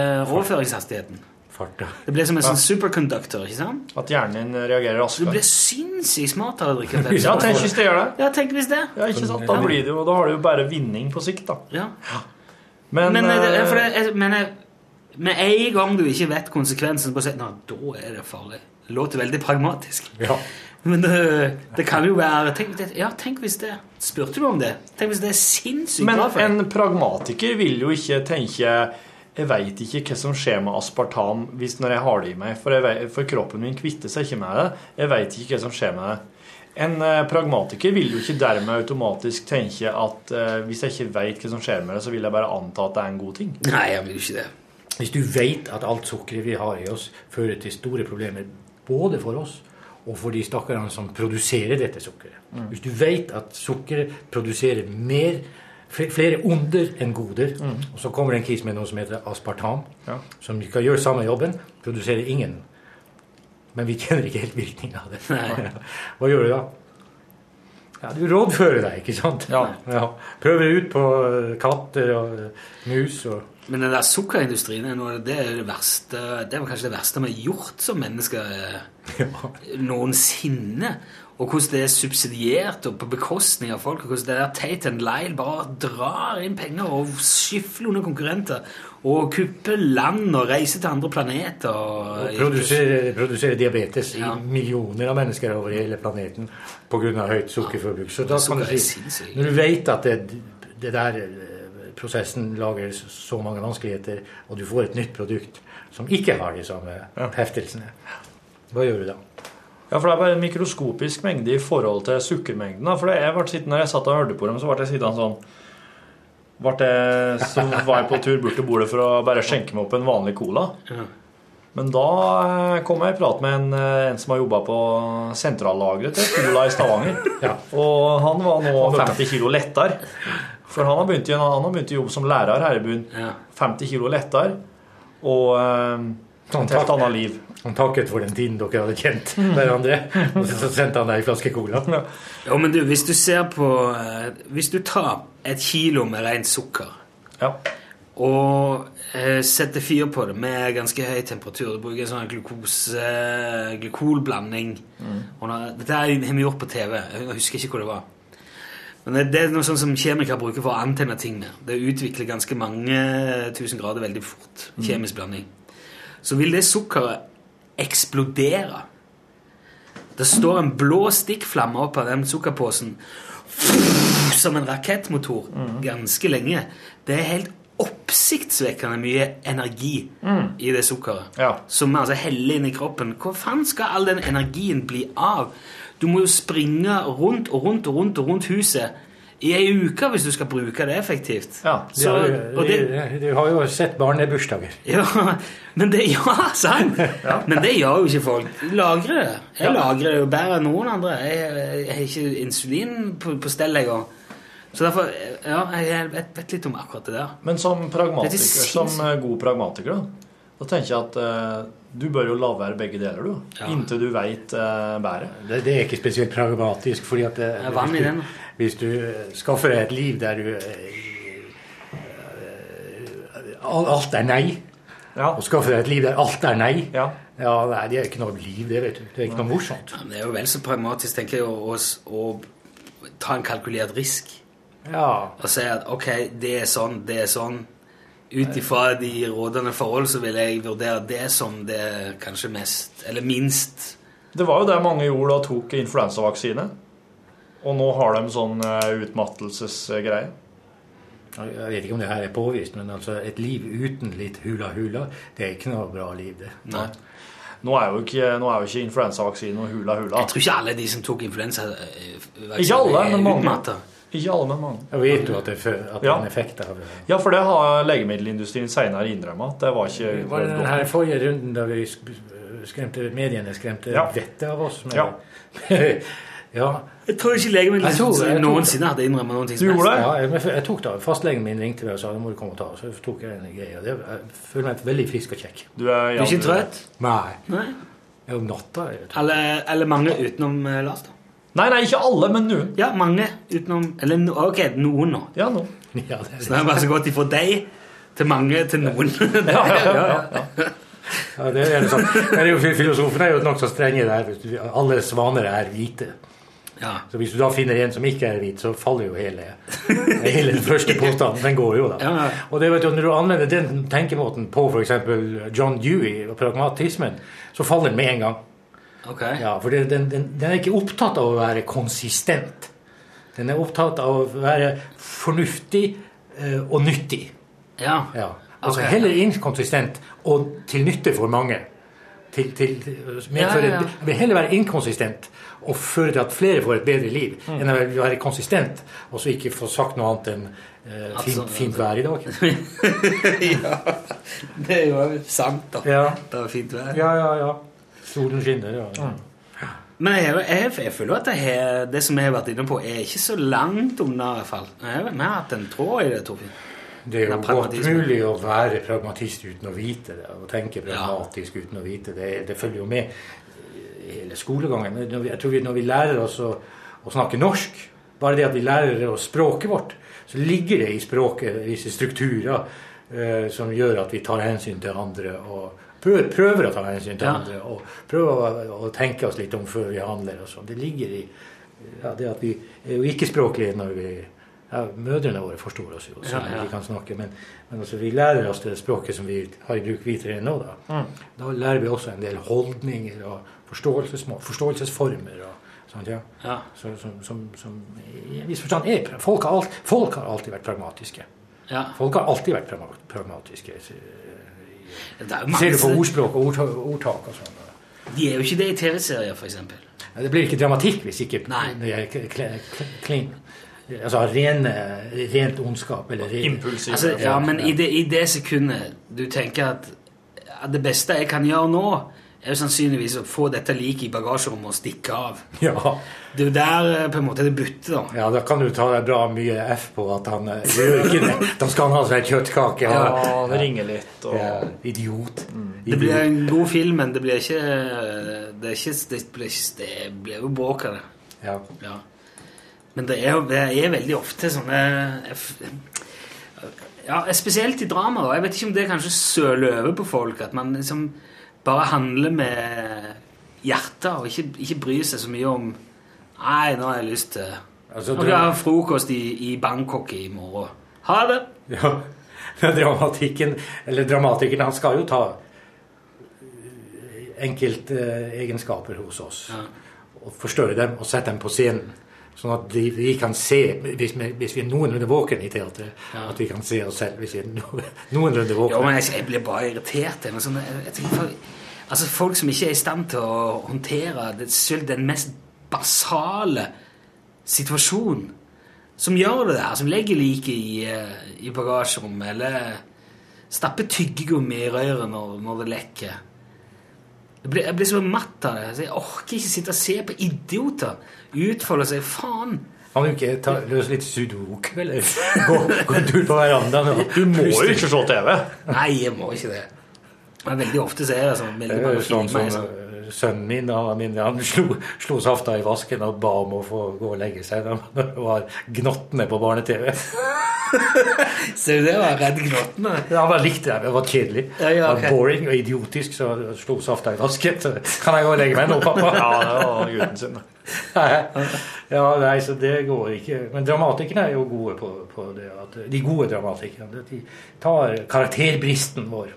overføringshastigheten. Det blir som en sånn superconductor, ikke sant? At hjernen din reagerer raskere. Du blir sinnssykt smart av å drikke Pepsi. Ja, tenk hvis det gjør det. Ja, tenk hvis det. Ja, ikke sant? Da, blir det jo, da har du jo bare vinning på sikt, da. Ja. Men, Men, eh, det- eh, for det, jeg, men jeg, med en gang du ikke vet konsekvensen, bare si Nå, da er det farlig. Det låter veldig pragmatisk. Men det, det kan jo være tenk, det, Ja, tenk hvis det Spurte du om det? Tenk hvis det er sinnssykt Men bra for deg. en pragmatiker vil jo ikke tenke Jeg veit ikke hva som skjer med aspartam hvis når jeg har det i meg, for, jeg vet, for kroppen min kvitter seg ikke med det. Jeg veit ikke hva som skjer med det. En eh, pragmatiker vil jo ikke dermed automatisk tenke at eh, hvis jeg ikke veit hva som skjer med det, så vil jeg bare anta at det er en god ting. Nei, jeg vil ikke det. Hvis du vet at alt sukkeret vi har i oss, fører til store problemer både for oss og for de stakkarene som produserer dette sukkeret. Mm. Hvis du vet at sukkeret produserer mer, fl- flere onder enn goder, og så kommer det en kis med noe som heter aspartam, Mm. Ja. som skal gjøre samme jobben, produserer ingen. Men vi kjenner ikke helt virkningen av det. Nei. Hva gjør du da? Ja, Du rådfører deg, ikke sant? Ja. Prøver ut på eh, katter og eh, mus og Men den der sukkerindustrien er noe, av det, det er det verste Det var kanskje det verste vi har gjort som mennesker eh, noensinne. Og hvordan det er subsidiert og på bekostning av folk. Og hvordan det der Tate and Lyle bare drar inn penger og skyfler under konkurrenter. Og kupper land og reiser til andre planeter. Og Og, produsere, produsere diabetes i millioner av mennesker over hele planeten pga. høyt sukkerforbruk. Så da kan Sukker du er si, sinnssykt. når du vet at det, det der eh, prosessen lager så mange vanskeligheter, og du får et nytt produkt som ikke har de samme heftelsene, hva gjør du da? Ja, for det er bare en mikroskopisk mengde i forhold til sukkermengden. Da. For det- jeg ble sittende, når jeg satt og hørte på dem, så ble jeg sittende sånn ble jeg, Så var jeg på tur bort til bordet for å bare skjenke meg opp en vanlig cola. Men da eh, kom jeg i prat med en, eh, en som har jobba på sentrallageret til Cola i Stavanger. Og han var nå 50 kilo lettere. For han har begynt, i- han har begynt å jobbe som lærer her i byen. 50 kilo lettere. Og eh, et helt annet liv. Han takket for den tiden dere hadde kjent hverandre, og så sendte han deg en flaske cola. Ja, men du, hvis du ser på eh, Hvis du tar et kilo med rent sukker og eh, setter fyr på det med ganske høy temperatur Du bruker en sånn glukose, glykolblanding og nå- Dette er jo- har vi gjort på TV. Jeg husker ikke hvor det var. Men det, det er noe sånn som kjemikere bruker for å antenne ting med. Det utvikler ganske mange tusen grader veldig fort. Mm. Kjemisk blanding. Så vil det sukkeret eksplodere. Det står en blå stikkflamme opp av den sukkerposen som en rakettmotor ganske lenge. Det er helt oppsiktsvekkende mye energi Mm. i det sukkeret. Som vi altså heller inn i kroppen. Hvor faen skal all den energien bli av? Du må jo springe rundt og rundt og rundt og rundt huset i ei uke hvis du skal bruke det effektivt. Så, og det, Du har jo sett barnebursdager. ja, men det, ja, sant? Men det gjør jo ikke folk. De Lagrer det. Jeg Ja. lagrer det jo bedre enn noen andre. Jeg, jeg, har ikke insulin på, på stell, jeg òg. Så derfor Ja, jeg vet, vet litt om akkurat det der. Men som pragmatiker, Dette er sinnssykt. som eh, god pragmatiker, da, da tenker jeg at eh, du bør jo la være begge deler, du. Inntil du veit eh, bedre. Det, det er ikke spesielt pragmatisk, fordi at det, Ja, vann i hvis, den. du, hvis du eh, skaffer deg et liv der du eh, eh, all- Alt er nei. Og skaffer deg et liv der alt er nei. Ja, nei, Det er ikke noe liv, det, vet du. Det er ikke noe morsomt. Ja, men det er jo vel så pragmatisk, tenker jeg, å, å, s- å ta en kalkulert risk. Ja. Og si at ok, det er sånn, det er sånn. Ut ifra de rådende forhold så vil jeg vurdere det som det kanskje mest Eller minst Det var jo det mange gjorde da tok influensavaksine. Og nå har de sånn eh, utmattelsesgreie. Jeg vet ikke om det her er påvist, men altså et liv uten litt hula-hula, det er ikke noe bra liv, det. Nei. Nå er jo ikke, nå er jo ikke influensavaksine og hula-hula. Jeg tror ikke alle de som tok influensa eh, Ikke alle, men mange. Ikke alle, men mange. Jeg vet jo at det, er fø- at det Ja. er en effekt av det. Ja, for det har legemiddelindustrien seinere innrømma. Det var ikke Var det den her forrige runden da vi sk- skremte mediene skremte Ja. vettet av oss med Ja. Ja. Jeg tror ikke legemiddelet Jeg tror- jeg tror- noensinne hadde innrømmet noen ting som Ja, jeg, men jeg tok det. Fastlegen min ringte meg og sa nå må du komme og ta det. Så tok jeg en greie. og det- Jeg føler meg veldig frisk og kjekk. Du er- Du er ikke trøtt? Nei. Nei. Jeg er om natta. Jeg, Eller, eller mange utenom eh, Lars, da. Nei, nei, ikke alle, men noen. Ja, mange utenom Eller no, ok, noen nå. Ja, nå. Så det er bare så godt ifra deg til mange til noen. ja, ja, ja. ja, det er det sånn. Men det er jo, fi- filosofene er jo nokså strenge der. Hvis du- Alle svaner er hvite. Så hvis du da finner en som ikke er hvit, så faller jo hele, hele den første påstanden. Den går jo, da. Og det vet du, når du anvender den tenkemåten på f.eks. John Dewey og pragmatismen, så faller den med en gang. Ja, for det, den, den, den er ikke opptatt av å være konsistent. Den er opptatt av å være fornuftig eh, og nyttig. Ja. Altså Ok, ja. heller inkonsistent og til nytte for mange. Til, til, medfører, Ja, ja, ja. Jeg vil heller være inkonsistent og føre til at flere får et bedre liv, Mm. enn å være- være konsistent og så ikke få sagt noe annet enn eh, At fint, sånn- fint vær i dag. Det er jo sant, da. Det var fint vær. Ja, ja, ja. Solen skinner. Ja. Mm. Men jeg, er jo- jeg, jeg føler jo at det, her, det som jeg har vært inne på, er ikke så langt unna. i hvert fall. Jeg har vi har hatt en tråd i det, Torfinn. Det er jo Ja, godt pragmatisme. mulig å være pragmatist uten å vite det, og tenke pragmatisk uten å vite det. Det følger jo med i hele skolegangen. Når vi, jeg tror vi, når vi lærer oss å, å snakke norsk, bare det at vi lærer oss språket vårt, så ligger det i språket visse strukturer eh, som gjør at vi tar hensyn til andre og prøver, prøver å ta hensyn til Ja. andre og prøver å, å tenke oss litt om før vi handler og sånn. Det ligger i ja, det at vi er jo ikke-språklige når vi ja, Mødrene våre forstår oss jo, så Ja, ja. vi kan snakke. Men, men altså, vi lærer oss det språket som vi har i bruk videre nå. Da. Mm. da lærer vi også en del holdninger og forståelsesmål, forståelsesformer. Og, sånt, ja. Ja. Så, som, som, som i en viss forstand er pra- folk har, alt, folk har alltid vært pragmatiske. Ja. Folk har alltid vært pragma- pragmatiske. så- Det er jo Ser du på mange- ordspråk og ordta- ordtak og sånn. De er jo ikke det i TV-serier, for eksempel. Ja, Det blir ikke dramatikk hvis ikke det er kl- kl- kl- kling. Altså rene, rent ondskap eller re- Altså, ja, men i det, i det sekundet du tenker at, at det beste jeg kan gjøre nå, er jo sannsynligvis å få dette liket i bagasjerommet og stikke av. Ja. Det er jo der eh, på en måte det butter, da. ja, da kan du ta deg bra mye F på at han eh, gjør ikke det. Da skal han ha seg en kjøttkake. Ja, han ringer litt Mm. Idiot. Det blir en god film, men det blir ikke eh, Det, er ikke, det, blir, ikke, det blir jo bråk av det. Ja. Men det er, jo- det er veldig ofte sånne jeg f- ja, Spesielt i drama. da. Jeg vet ikke om det kanskje søler over på folk. At man liksom bare handler med hjertet og ikke, ikke bryr seg så mye om Nei, nå har jeg lyst til Altså, Nå skal jeg ha frokost i, i Bangkok i morgen. Ha det! Ja. Men Dramatikken, eller dramatikeren, han skal jo ta eh, enkeltegenskaper hos oss. Og forstørre dem og sette dem på scenen. Sånn at de, vi kan se, hvis vi, hvis vi er noenlunde våken i teatret, at vi kan se oss selv hvis vi er no, noenlunde Jo, men våkne. jeg, jeg blir bare irritert. Jeg, men sånn, jeg, jeg tenker, for- altså, folk som ikke er i stand til å håndtere det, selv den mest basale situasjonen, som gjør det der, som legger liket i, eh, i bagasjerommet, eller stapper tyggegummi i røret når, når det lekker. Jeg blir, jeg blir så matt av det. så Jeg orker ikke sitte og se på idioter utfolde seg. Faen! Kan du ikke ta, løse litt sudoku, eller gå, gå en tur på verandaen? og- Eh, Du må jo ikke se TV. Nei, jeg må ikke det. Men veldig ofte så er det sånn Det veldig er mange jo sånn som filmer som- eh, sønnen min og min, han slo, slo safta i vasken og ba om å få gå og legge seg. Da det var gnottene på barne-TV. Ser du det? Var redd gnottene? Ja, han bare likte det. Det var kjedelig. Ja, ja, Det ok. var boring og idiotisk, så slo safta i vasken. Så kan jeg gå og legge meg nå, pappa? Ja, det var gutten sin, da. Nei. Ja, nei, så det går ikke. Men dramatikerne er jo gode på, på det. At de gode dramatikerne. at De tar karakterbristen vår,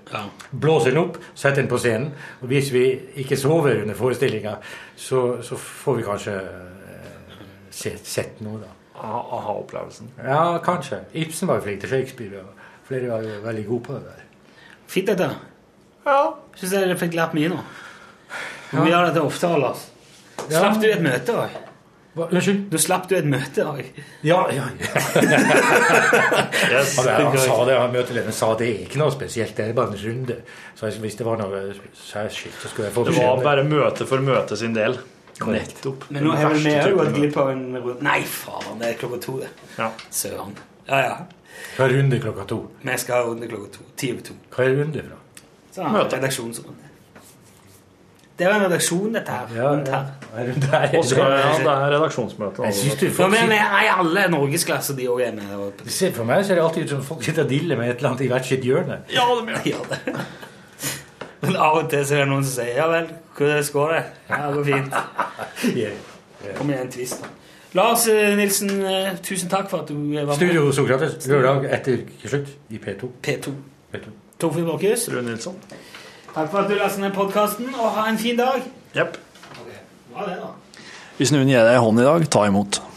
blåser den opp, setter den på scenen. Og hvis vi ikke sover under forestillinga, så, så får vi kanskje eh, se, sett noe, da. Aha-opplevelsen. Ja, kanskje. Ibsen var jo flink til Shakespeare. Og flere var jo veldig gode på det der. Fint, dette. Ja. Syns jeg dere fikk lært mye nå. Vi Ja. gjør dette ofte, Lars. Ja. Slapp du et møte òg? Unnskyld? Du slapp du et møte òg? Ja, ja, Han, han sa det, han møtelederen sa det er ikke noe spesielt, det er bare en runde. Så jeg- hvis det var noe særskilt, så skulle jeg få Det beskjed var om det. bare møte for møte sin del. Nettopp. Men nå har vel vi òg gått glipp av en runde Nei, faen, det er klokka to, det. Søren. Ja, ja. Hva er runde klokka to? Vi skal ha runde klokka to. Ti over to. Hva er runde fra? Så har vi redaksjonsrunde. Det var en redaksjon, dette her. rundt her. Og skal ja, det er redaksjonsmøte. Jeg synes du får Men vi er i alle norgesklasse, de òg er med. og- Se, for meg ser det alltid ut som folk sitter og diller med et eller annet i hvert sitt hjørne. Ja, de gjør det. Men av og til så er det noen som sier ja vel, hvordan går det? Ja, det går fint. Kom igjen, twist. da. Lars eh, Nilsen, eh, tusen takk for at du eh, var med. Studio Sokrates, lørdag etter slutt i P2. P2. P2. Torfinn Borchhus. Rune Nilsson. Takk for at du leste ned podkasten, og ha en fin dag. Jepp. Ha det, da. Hvis noen gir deg en hånd i dag, ta imot.